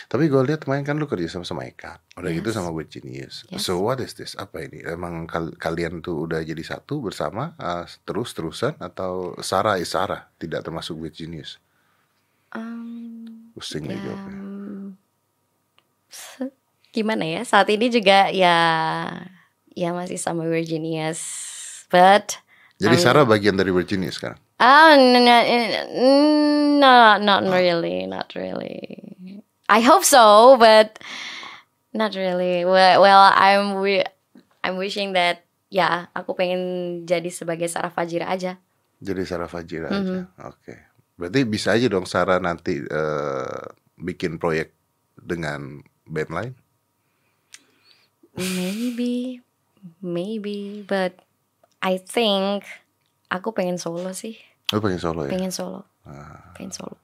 [SPEAKER 1] Tapi gue lihat kemarin kan lu kerja sama sama Eka, udah
[SPEAKER 2] Yes.
[SPEAKER 1] gitu sama Word Genius.
[SPEAKER 2] Yes.
[SPEAKER 1] So what is this? Apa ini? Emang kal- kalian tuh udah jadi satu bersama terus terusan atau Sarah is Sarah tidak termasuk Word Genius?
[SPEAKER 2] Em,
[SPEAKER 1] Pusing
[SPEAKER 2] Ya,
[SPEAKER 1] nih jawabnya.
[SPEAKER 2] mm, se- gimana ya saat ini juga ya ya masih sama We're Genius but
[SPEAKER 1] Jadi
[SPEAKER 2] I'm-
[SPEAKER 1] Sarah bagian dari Word Genius sekarang.
[SPEAKER 2] oh no no no not really not really I hope so but not really well, well, I'm wi- I'm wishing that ya aku pengen jadi sebagai Sarah Fajira aja
[SPEAKER 1] Jadi Sarah Fajira aja.
[SPEAKER 2] Mhm.
[SPEAKER 1] Oke. Berarti bisa aja dong Sarah nanti eh, bikin proyek dengan band lain.
[SPEAKER 2] maybe maybe but I think aku pengen solo sih
[SPEAKER 1] Lu pengen solo ya?
[SPEAKER 2] pengen solo
[SPEAKER 1] Ah,
[SPEAKER 2] pengen solo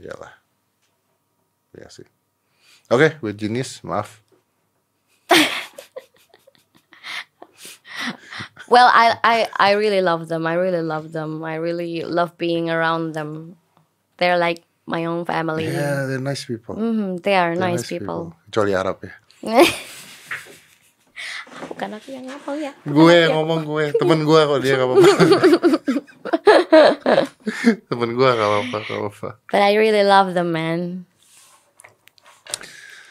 [SPEAKER 1] iyalah. Ya sih. Oke, Word Genius, maaf.
[SPEAKER 2] well I I I really love them I really love them I really love being around them they're like my own family
[SPEAKER 1] Yeah, they're nice people.
[SPEAKER 2] Mhm, they are
[SPEAKER 1] They're
[SPEAKER 2] nice, people,
[SPEAKER 1] Kecuali Arab ya.
[SPEAKER 2] bukan aku yang ngapal ya
[SPEAKER 1] Gue yang ngomong gue, temen gue kok dia gak apa-apa. temen gue gak apa-apa, gak apa-apa.
[SPEAKER 2] but I really love them man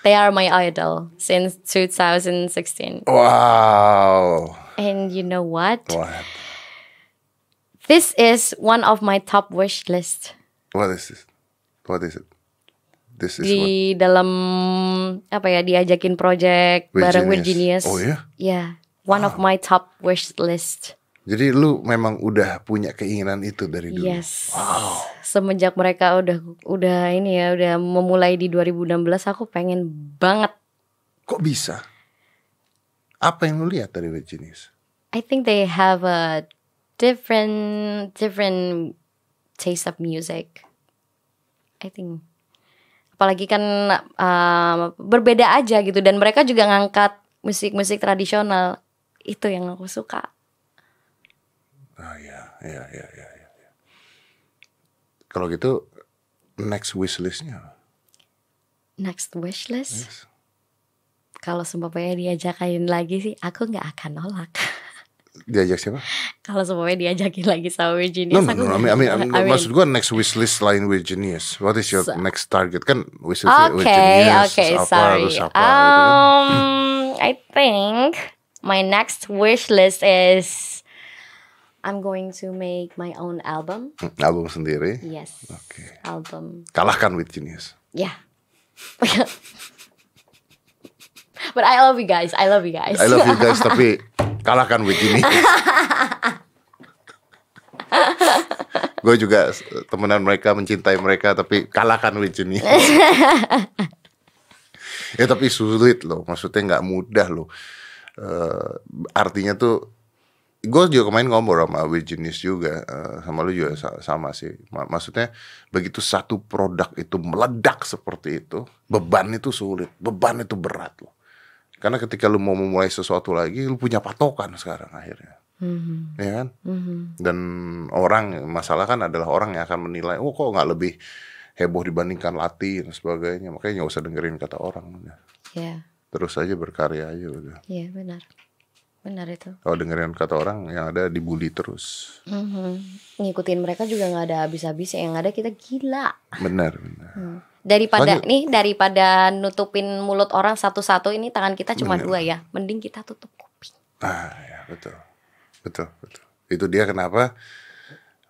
[SPEAKER 2] they are my idol since 2016
[SPEAKER 1] Wow.
[SPEAKER 2] and you know what
[SPEAKER 1] What?
[SPEAKER 2] this is one of my top wish list
[SPEAKER 1] What is this? What is it? This is what?
[SPEAKER 2] di dalam apa ya diajakin project bareng with Genius. iya?
[SPEAKER 1] Oh ya?
[SPEAKER 2] Yeah, one of my top wish list.
[SPEAKER 1] Jadi lu memang udah punya keinginan itu dari dulu.
[SPEAKER 2] Yes. Semenjak mereka udah udah ini ya udah memulai di 2016 aku pengen banget.
[SPEAKER 1] Kok bisa? Apa yang lu lihat dari Wet Genius?
[SPEAKER 2] I think they have a different different taste of music. I think apalagi kan um, berbeda aja gitu dan mereka juga ngangkat musik-musik tradisional. Itu yang aku suka.
[SPEAKER 1] Oh iya, iya, iya, iya. iya. Kalau gitu next wishlistnya apa?
[SPEAKER 2] Next wish list. Kalau seumpamanya diajakin lagi sih, aku nggak akan nolak.
[SPEAKER 1] Diajak siapa?
[SPEAKER 2] Kalau seumpamanya diajakin lagi sama Virginia,
[SPEAKER 1] No, no, no. I mean, I mean,
[SPEAKER 2] I mean,
[SPEAKER 1] maksud gue next wish list lain with genius. What is your
[SPEAKER 2] So-
[SPEAKER 1] next target kan wish list with
[SPEAKER 2] Okay,
[SPEAKER 1] genius?
[SPEAKER 2] okay,
[SPEAKER 1] terus apa,
[SPEAKER 2] sorry.
[SPEAKER 1] terus apa, gitu kan.
[SPEAKER 2] Um, I think my next wish list is I'm going to make my own album.
[SPEAKER 1] Hmm, Album sendiri.
[SPEAKER 2] Yes,
[SPEAKER 1] Oke.
[SPEAKER 2] album.
[SPEAKER 1] Kalahkan with genius.
[SPEAKER 2] Yeah. But I love you guys. I love you guys.
[SPEAKER 1] I love you guys tapi kalahkan with genius. gue juga s- temenan mereka mencintai mereka tapi kalahkan with genius. ya tapi sulit loh, maksudnya nggak mudah loh. Eh, artinya tuh gue juga kemarin ngobrol sama Virginis juga eh, sama lu juga sa- sama sih Ma- maksudnya begitu satu produk itu meledak seperti itu beban itu sulit beban itu berat loh karena ketika lu mau memulai sesuatu lagi lu punya patokan sekarang akhirnya
[SPEAKER 2] Mhm,
[SPEAKER 1] ya kan
[SPEAKER 2] mhm.
[SPEAKER 1] dan orang masalah kan adalah orang yang akan menilai oh kok nggak lebih heboh dibandingkan Lati dan sebagainya makanya nggak usah dengerin kata orang
[SPEAKER 2] Yeah,
[SPEAKER 1] terus aja berkarya aja udah
[SPEAKER 2] yeah, Iya, benar, benar itu.
[SPEAKER 1] kalau dengerin kata orang yang ada dibully terus
[SPEAKER 2] Mhm. Ngikutin mereka juga nggak ada habis-habisnya. Yang ada kita gila.
[SPEAKER 1] benar benar
[SPEAKER 2] Daripada
[SPEAKER 1] Lanjut.
[SPEAKER 2] nih daripada nutupin mulut orang satu-satu ini tangan kita cuma
[SPEAKER 1] Bener.
[SPEAKER 2] dua ya. Mending kita tutup kuping.
[SPEAKER 1] Ah, ya, betul. Betul, betul. Itu dia kenapa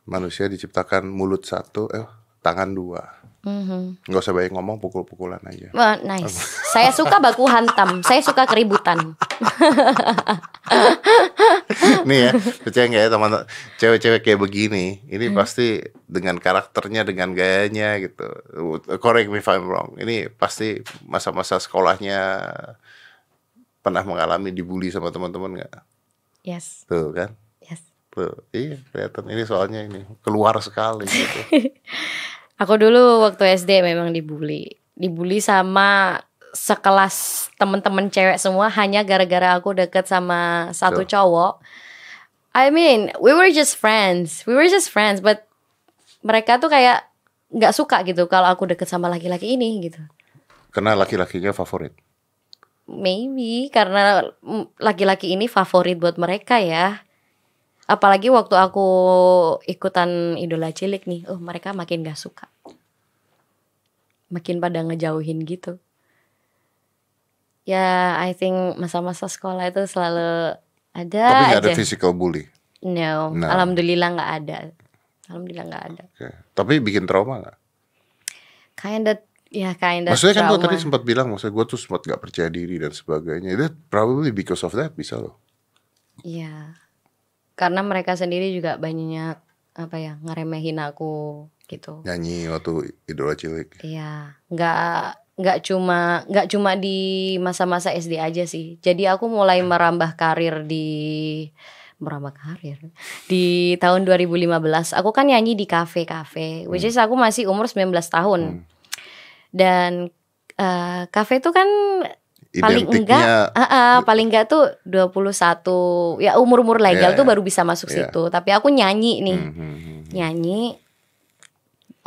[SPEAKER 1] manusia diciptakan mulut satu, eh tangan dua.
[SPEAKER 2] Mhm.
[SPEAKER 1] Nggak usah banyak ngomong, pukul-pukulan aja.
[SPEAKER 2] Wah, nice. Saya suka baku hantam. Saya suka keributan.
[SPEAKER 1] Nih ya, percaya nggak ya teman-teman, cewek-cewek kayak begini, ini
[SPEAKER 2] Hmm.
[SPEAKER 1] pasti dengan karakternya, dengan gayanya gitu. Correct me if I'm wrong. Ini pasti masa-masa sekolahnya pernah mengalami dibully sama teman-teman nggak?
[SPEAKER 2] Yes,
[SPEAKER 1] Tuh kan?
[SPEAKER 2] yes.
[SPEAKER 1] Tuh, iya kelihatan. Ini soalnya ini keluar sekali gitu.
[SPEAKER 2] Aku dulu waktu SD memang dibully. Dibully sama sekelas temen-temen cewek semua hanya gara-gara aku deket sama satu
[SPEAKER 1] Betul.
[SPEAKER 2] cowok. I mean, we were just friends. We were just friends, but mereka tuh kayak nggak suka gitu kalau aku deket sama laki-laki ini gitu.
[SPEAKER 1] Karena laki-lakinya favorit.
[SPEAKER 2] Maybe karena mm, laki-laki ini favorit buat mereka ya. Apalagi waktu aku ikutan idola cilik nih, oh mereka makin gak suka. Makin pada ngejauhin gitu. Ya, I think masa-masa sekolah itu selalu ada Ah,
[SPEAKER 1] Tapi nggak ada Nah.
[SPEAKER 2] aja.
[SPEAKER 1] physical bully.
[SPEAKER 2] no,
[SPEAKER 1] No.
[SPEAKER 2] alhamdulillah nggak ada. Alhamdulillah nggak ada.
[SPEAKER 1] Oke. Tapi bikin trauma nggak?
[SPEAKER 2] Kinda, ya kinda
[SPEAKER 1] Maksudnya kan gue
[SPEAKER 2] trauma.
[SPEAKER 1] tadi sempat bilang, maksudnya gue tuh sempat nggak percaya diri dan sebagainya. Itu probably because of that bisa loh.
[SPEAKER 2] Iya. Karena mereka sendiri juga banyak apa ya ngeremehin aku gitu.
[SPEAKER 1] Nyanyi waktu idola cilik.
[SPEAKER 2] Iya, nggak nggak cuma nggak cuma di masa-masa SD aja sih. Jadi aku mulai merambah karir di merambah karir di tahun 2015. Aku kan nyanyi di kafe-kafe, which is aku masih umur 19 tahun. Dan eh, kafe itu kan Paling
[SPEAKER 1] Identiknya Gitu.
[SPEAKER 2] Ah, ah, paling enggak tuh 21 ya umur-umur legal
[SPEAKER 1] Iya,
[SPEAKER 2] tuh
[SPEAKER 1] iya.
[SPEAKER 2] baru bisa masuk
[SPEAKER 1] Iya.
[SPEAKER 2] situ. Tapi aku nyanyi nih.
[SPEAKER 1] Hmm, hmm, hmm.
[SPEAKER 2] Nyanyi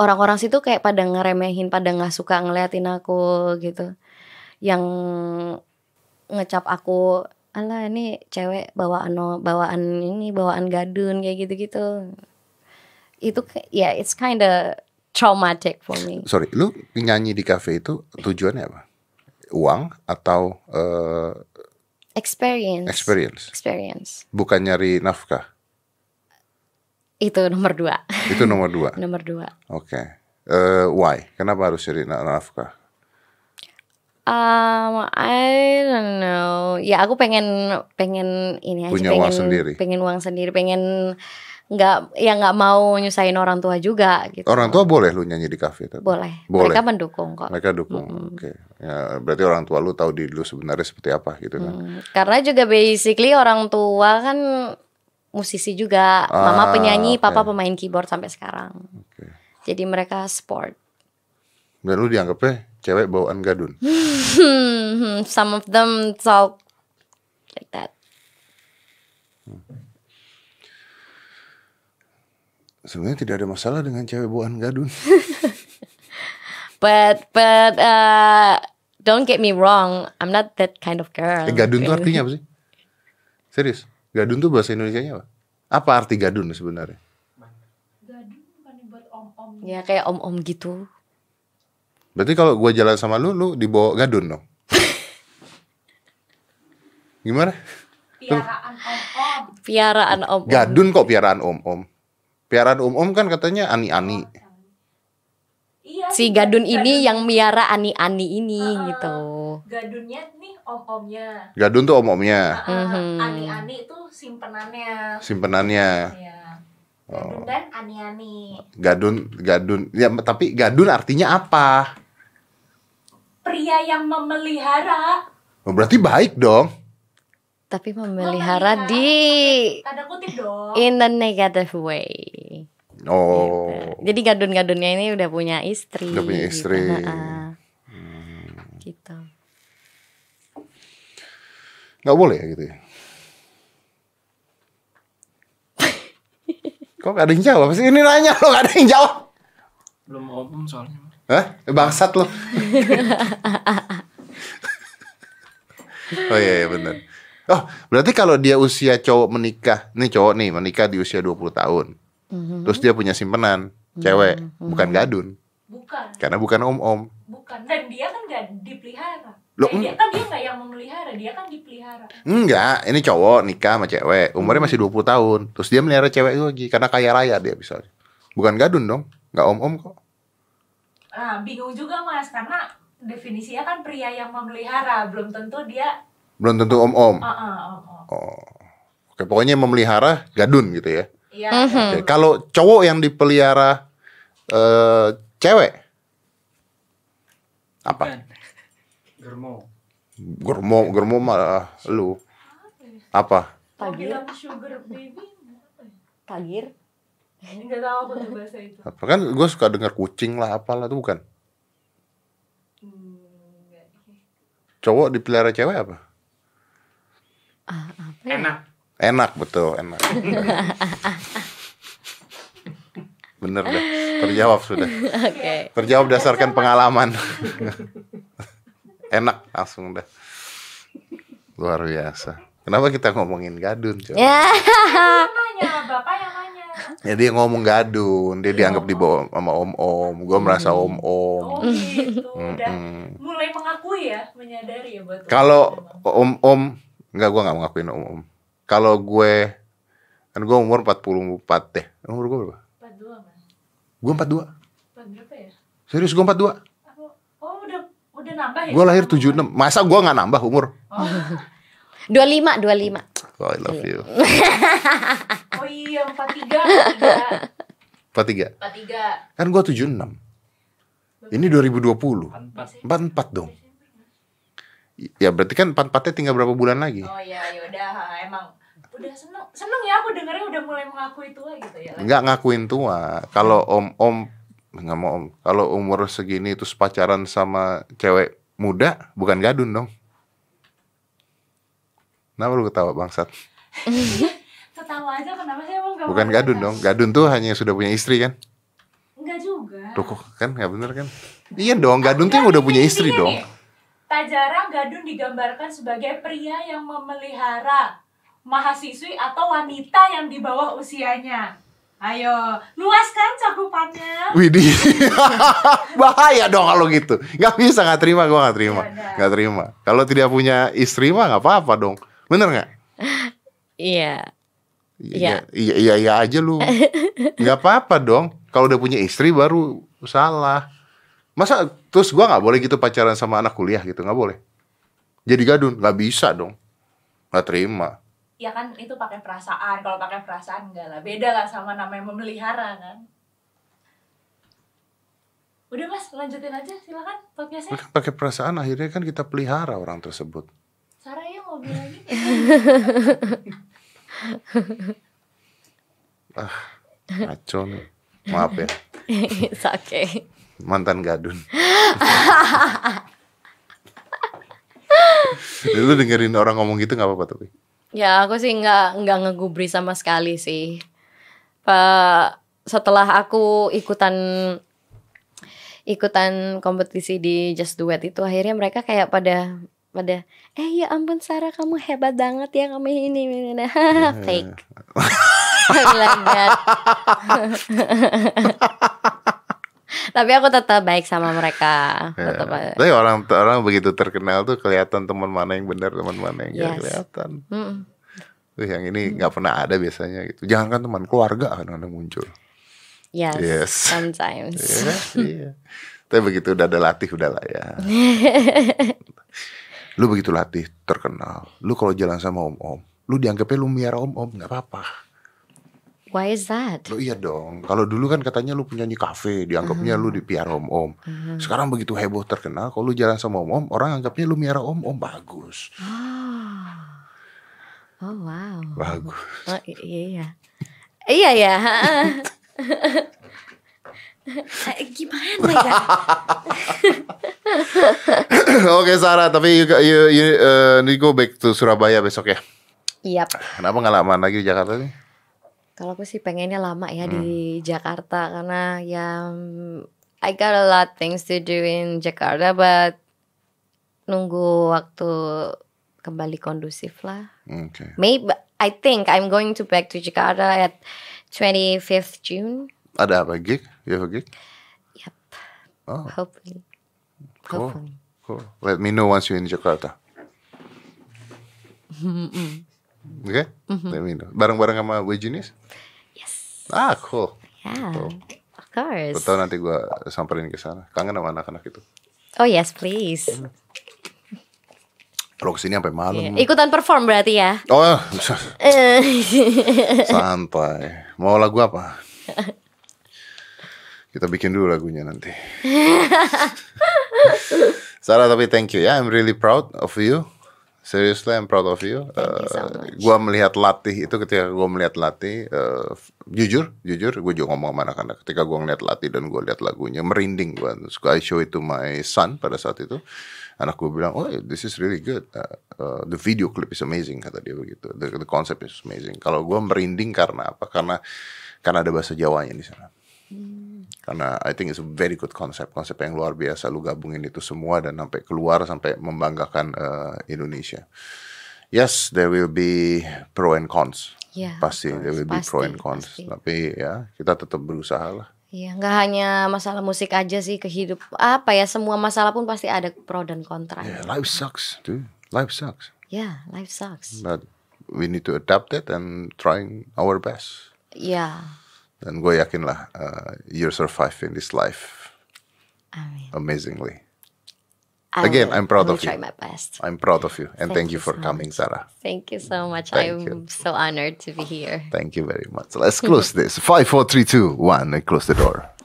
[SPEAKER 2] orang-orang situ kayak pada ngeremehin, pada nggak suka ngeliatin aku gitu. Yang ngecap aku, "Alah, ini cewek bawaan no- bawaan ini, bawaan gadun kayak gitu-gitu." Itu kayak- ya it's kinda traumatic for me.
[SPEAKER 1] Sorry, lu nyanyi di cafe itu tujuannya apa? Uang atau eh,
[SPEAKER 2] Experience.
[SPEAKER 1] experience?
[SPEAKER 2] Experience.
[SPEAKER 1] Bukan nyari nafkah.
[SPEAKER 2] Itu nomor dua.
[SPEAKER 1] Itu nomor dua.
[SPEAKER 2] nomor dua.
[SPEAKER 1] Oke. Eh, why? Kenapa harus cari na- nafkah?
[SPEAKER 2] Um, I don't know. Ya aku pengen pengen ini aja
[SPEAKER 1] Punya
[SPEAKER 2] pengen
[SPEAKER 1] uang sendiri.
[SPEAKER 2] pengen uang sendiri, pengen nggak ya nggak mau nyusahin orang tua juga gitu.
[SPEAKER 1] Orang tua boleh lu nyanyi di kafe tapi
[SPEAKER 2] boleh.
[SPEAKER 1] Boleh.
[SPEAKER 2] Mereka mendukung kok.
[SPEAKER 1] mereka dukung. Oke. Ya, berarti orang tua lu tahu diri lu sebenarnya seperti apa gitu kan.
[SPEAKER 2] Hmm, Karena juga basically orang tua kan musisi juga,
[SPEAKER 1] Ah,
[SPEAKER 2] mama penyanyi,
[SPEAKER 1] oke.
[SPEAKER 2] papa pemain keyboard sampai sekarang.
[SPEAKER 1] Oke.
[SPEAKER 2] Jadi mereka sport.
[SPEAKER 1] Dan lu dianggapnya cewek bawaan gadun.
[SPEAKER 2] Hmm, some of them talk like that.
[SPEAKER 1] Sebenarnya tidak ada masalah dengan cewek bawaan gadun.
[SPEAKER 2] But but uh, don't get me wrong, I'm not that kind of girl.
[SPEAKER 1] Eh, gadun tuh artinya apa sih? Serius? Gadun tuh bahasa Indonesianya apa? Apa arti gadun sebenarnya?
[SPEAKER 2] Ya kayak om-om gitu.
[SPEAKER 1] Berarti kalau gua jalan sama lu, lu dibawa gadun dong. Gimana?
[SPEAKER 2] Piaraan om.
[SPEAKER 1] Gadun kok piaraan om-om. Piaraan om-om kan katanya ani-ani.
[SPEAKER 3] Iya.
[SPEAKER 2] Si
[SPEAKER 3] sih,
[SPEAKER 2] gadun
[SPEAKER 3] gadun-
[SPEAKER 2] ini yang miara ani-ani ini gitu.
[SPEAKER 3] gadunnya nih om-omnya.
[SPEAKER 1] Gadun tuh om-omnya,
[SPEAKER 3] Ah,
[SPEAKER 2] Mhm.
[SPEAKER 3] Ani-ani itu simpenannya.
[SPEAKER 1] simpenannya.
[SPEAKER 3] Ya.
[SPEAKER 1] Oh.
[SPEAKER 3] Gadun dan ani-ani.
[SPEAKER 1] Gadun, gadun. Ya, tapi gadun artinya apa?
[SPEAKER 3] Pria yang memelihara.
[SPEAKER 1] Oh, Berarti baik dong.
[SPEAKER 2] Tapi memelihara di
[SPEAKER 3] Tanda kutip dong.
[SPEAKER 2] in the negative way.
[SPEAKER 1] Oh.
[SPEAKER 2] Jadi gadun-gadunnya ini udah punya istri.
[SPEAKER 1] Udah punya istri. Hmm.
[SPEAKER 2] Gitu. Ha-ha. Gitu.
[SPEAKER 1] nggak boleh ya gitu ya? Kok gak ada yang jawab sih? Ini nanya lo gak ada yang jawab.
[SPEAKER 4] belum om soalnya
[SPEAKER 1] Hah? Bangsat lo. oh iya, iya benar. Oh, berarti kalau dia usia cowok menikah, nih cowok nih menikah di usia 20 tahun.
[SPEAKER 2] Mhm.
[SPEAKER 1] Terus dia punya simpenan, cewek, bukan gadun.
[SPEAKER 3] Bukan,
[SPEAKER 1] Karena bukan om-om.
[SPEAKER 3] bukan. Dan dia kan gak dipelihara.
[SPEAKER 1] Loh,
[SPEAKER 3] Eh, dia kan dia gak yang memelihara, dia kan dipelihara.
[SPEAKER 1] Enggak, ini cowok nikah sama cewek, umurnya masih 20 tahun. Terus dia melihara cewek itu lagi karena kaya raya dia bisa. Bukan gadun dong, nggak om-om kok.
[SPEAKER 3] Nah, bingung juga mas, karena definisinya kan pria yang memelihara, belum tentu dia
[SPEAKER 1] Belum tentu om-om.
[SPEAKER 3] ah ah, om om.
[SPEAKER 1] Oh. Oke, pokoknya yang memelihara gadun gitu ya.
[SPEAKER 3] Iya.
[SPEAKER 2] Mhm.
[SPEAKER 1] Oke, kalau cowok yang dipelihara eh cewek apa?
[SPEAKER 4] Bukan. germo
[SPEAKER 1] Germo, germo malah lu. Apa?
[SPEAKER 3] Kalau
[SPEAKER 2] Tagir,
[SPEAKER 3] bilang sugar baby,
[SPEAKER 2] tagir.
[SPEAKER 3] nggak tahu apa tuh bahasa itu.
[SPEAKER 1] Apa kan gue suka dengar kucing lah apalah itu bukan.
[SPEAKER 3] Hmm, nggak.
[SPEAKER 1] Cowok dipelihara cewek apa?
[SPEAKER 2] Ah, apa ya?
[SPEAKER 4] Enak.
[SPEAKER 1] Enak betul, enak. Bener dah, terjawab sudah.
[SPEAKER 2] Oke.
[SPEAKER 1] Terjawab berdasarkan pengalaman. enak langsung dah. Luar biasa. Kenapa kita ngomongin gadun, coba?
[SPEAKER 2] Ya.
[SPEAKER 3] Yang nanya, bapak yang nanya.
[SPEAKER 1] Ya dia ngomong gadun, dia dianggap dibawa sama om-om. Gue merasa
[SPEAKER 3] Oh
[SPEAKER 1] om-om.
[SPEAKER 3] gitu,
[SPEAKER 1] Hmm,
[SPEAKER 3] udah
[SPEAKER 1] Mm-mm.
[SPEAKER 3] mulai mengakui ya, menyadari ya buat
[SPEAKER 1] Kalau om-om, nggak gue nggak ngakuin om-om. Kalau gue, kan gue umur 44 deh. Umur gue berapa?
[SPEAKER 3] empat dua mas,
[SPEAKER 1] Gue 42.
[SPEAKER 3] empat berapa ya?
[SPEAKER 1] Serius gue 42.
[SPEAKER 3] Aku, oh udah udah nambah ya?
[SPEAKER 1] Gue lahir 76. Masa gue nggak nambah umur?
[SPEAKER 3] Oh,
[SPEAKER 2] 25, 25.
[SPEAKER 1] Oh, I love you.
[SPEAKER 3] oh iya empat tiga, empat
[SPEAKER 1] 43.
[SPEAKER 3] tiga.
[SPEAKER 1] Kan gue 76. Ini 2020.
[SPEAKER 4] Empat.
[SPEAKER 1] 44 dong. Ya berarti kan 44-nya tinggal berapa bulan lagi?
[SPEAKER 3] Oh iya, yaudah emang udah seneng seneng ya aku dengernya udah mulai mengakui tua gitu ya.
[SPEAKER 1] nggak ngakuin tua kalau om om nggak mau om kalau umur segini terus pacaran sama cewek muda bukan gadun dong Kenapa lu ketawa bangsat?
[SPEAKER 3] Ketawa aja kenapa sih emang gak
[SPEAKER 1] Bukan gadun dong. Gadun tuh hanya yang sudah punya istri kan?
[SPEAKER 3] Enggak juga.
[SPEAKER 1] Loh kok kan nggak bener kan? Iya dong, gadun tuh yang udah punya istri
[SPEAKER 3] Intinya
[SPEAKER 1] dong.
[SPEAKER 3] nih, Tak jarang gadun digambarkan sebagai pria yang memelihara mahasiswi atau wanita yang di bawah usianya. Ayo, luas kan cakupannya?
[SPEAKER 1] Widih. Bahaya dong kalau gitu. Nggak bisa nggak terima gua nggak terima.
[SPEAKER 3] Ya udah.
[SPEAKER 1] Nggak terima. Kalau tidak punya istri mah nggak apa-apa dong. Bener nggak?
[SPEAKER 2] Iya.
[SPEAKER 1] Iya, iya, iya, iya aja lu. nggak apa-apa dong. Kalau udah punya istri baru salah. Masa terus gua nggak boleh gitu pacaran sama anak kuliah gitu, nggak boleh. Jadi gadun, nggak bisa dong. Nggak terima.
[SPEAKER 3] Ya kan itu pakai perasaan. Kalau pakai perasaan enggak lah. Beda lah sama namanya memelihara kan. Udah mas, lanjutin aja silakan podcastnya.
[SPEAKER 1] Kan pakai perasaan akhirnya kan kita pelihara orang tersebut.
[SPEAKER 3] Sarah ya mau bilang lagi.
[SPEAKER 1] Ngaco nih. Maaf ya,
[SPEAKER 2] It's okay.
[SPEAKER 1] mantan gadun. lu dengerin orang ngomong gitu nggak apa-apa tapi.
[SPEAKER 2] Ya aku sih nggak nggak ngegubri sama sekali sih. Pak setelah aku ikutan ikutan kompetisi di Just Duet itu akhirnya mereka kayak pada pada eh ya ampun Sarah kamu hebat banget ya kamu ini ini, ini." fake. Aku bilang, "Nggak." Tapi aku tetap baik sama mereka.
[SPEAKER 1] Ya.
[SPEAKER 2] Tetap
[SPEAKER 1] Tapi orang orang begitu terkenal tuh kelihatan teman mana yang benar, teman mana yang nggak
[SPEAKER 2] Yes.
[SPEAKER 1] kelihatan.
[SPEAKER 2] Mm-mm.
[SPEAKER 1] Tuh yang ini nggak pernah ada biasanya gitu. Jangan kan teman keluarga kadang-kadang muncul.
[SPEAKER 2] Yes,
[SPEAKER 1] Yes.
[SPEAKER 2] sometimes.
[SPEAKER 1] Iya, kan? iya. Tapi begitu udah ada latih udah lah ya. lu begitu latih terkenal. Lu kalau jalan sama om-om, lu dianggapnya lu miara om-om nggak apa-apa.
[SPEAKER 2] Why is that?
[SPEAKER 1] Lu iya dong. Kalau dulu kan katanya lu penyanyi kafe, dianggapnya lu di piara om-om. Sekarang begitu heboh terkenal, kalau lu jalan sama om-om, orang anggapnya lu miara om-om bagus.
[SPEAKER 2] Oh, oh wow.
[SPEAKER 1] Bagus.
[SPEAKER 2] Oh, i- iya, iya, ya. Eh, Gimana ya?
[SPEAKER 1] Oke Sarah, tapi you, you, you, uh, need go back to Surabaya besok ya.
[SPEAKER 2] Yap.
[SPEAKER 1] Kenapa nggak lama lagi di Jakarta nih?
[SPEAKER 2] Kalau aku sih pengennya lama ya di
[SPEAKER 1] Hmm.
[SPEAKER 2] Jakarta karena ya mm, I got a lot things to do in Jakarta, but nunggu waktu kembali kondusif lah.
[SPEAKER 1] Oke.
[SPEAKER 2] Maybe I think I'm going to back to Jakarta at 25th June.
[SPEAKER 1] Ada apa gig? You have a gig?
[SPEAKER 2] Yep.
[SPEAKER 1] Oh.
[SPEAKER 2] Hopefully.
[SPEAKER 1] Cool.
[SPEAKER 2] Hopefully.
[SPEAKER 1] Cool. Let me know once you're in Jakarta.
[SPEAKER 2] Mm-hmm.
[SPEAKER 1] Oke? Let me know. Bareng-bareng sama Bu Junis?
[SPEAKER 2] Yes.
[SPEAKER 1] Ah, cool.
[SPEAKER 2] Yeah.
[SPEAKER 1] Betul.
[SPEAKER 2] Of course.
[SPEAKER 1] Oh. Betul nanti gua samperin ke sana. Kangen sama anak-anak itu.
[SPEAKER 2] Oh yes, please.
[SPEAKER 1] Kalau kesini sampai malam.
[SPEAKER 2] Iya. Eh. Ikutan perform berarti ya.
[SPEAKER 1] Oh, santai. Mau lagu apa? Kita bikin dulu lagunya nanti. Sarah tapi thank you ya. I'm really proud of you. Seriously, I'm proud of you.
[SPEAKER 2] Thank you so
[SPEAKER 1] Eh,
[SPEAKER 2] much.
[SPEAKER 1] gua melihat latih itu ketika gua melihat latih, eh, f- jujur, jujur, gue juga ngomong sama anak-anak. Ketika gua ngeliat latih dan gua lihat lagunya, merinding gua. Terus gua I show it to my son pada saat itu. Anak gue bilang, oh this is really good. Eh, eh, the video clip is amazing kata dia begitu. The, the concept is amazing. Kalau gua merinding karena apa? Karena karena ada bahasa Jawanya di sana karena I think it's a very good concept konsep yang luar biasa lu gabungin itu semua dan sampai keluar sampai membanggakan eh, Indonesia yes there will be pro and cons
[SPEAKER 2] Ya,
[SPEAKER 1] pasti
[SPEAKER 2] betul.
[SPEAKER 1] there will be pro
[SPEAKER 2] Pasti,
[SPEAKER 1] and cons
[SPEAKER 2] pasti.
[SPEAKER 1] tapi ya kita tetap berusaha lah
[SPEAKER 2] Iya, nggak hanya masalah musik aja sih kehidup apa ya semua masalah pun pasti ada pro dan kontra. Ya,
[SPEAKER 1] yeah, life sucks dude life sucks
[SPEAKER 2] life sucks.
[SPEAKER 1] but we need to adapt it and trying our best
[SPEAKER 2] Ya,
[SPEAKER 1] dan gue yakin lah eh, you survive in this life
[SPEAKER 2] amin.
[SPEAKER 1] amazingly
[SPEAKER 2] I
[SPEAKER 1] Again, I'm proud
[SPEAKER 2] I
[SPEAKER 1] of
[SPEAKER 2] try
[SPEAKER 1] you.
[SPEAKER 2] my best.
[SPEAKER 1] I'm proud of you and thank,
[SPEAKER 2] Thank
[SPEAKER 1] you
[SPEAKER 2] you
[SPEAKER 1] for
[SPEAKER 2] so
[SPEAKER 1] coming Sarah
[SPEAKER 2] Thank you so much.
[SPEAKER 1] Thank
[SPEAKER 2] I'm
[SPEAKER 1] you.
[SPEAKER 2] so honored to be here.
[SPEAKER 1] Thank you very much. Let's close this. Five, four, three, two, one, and close the door.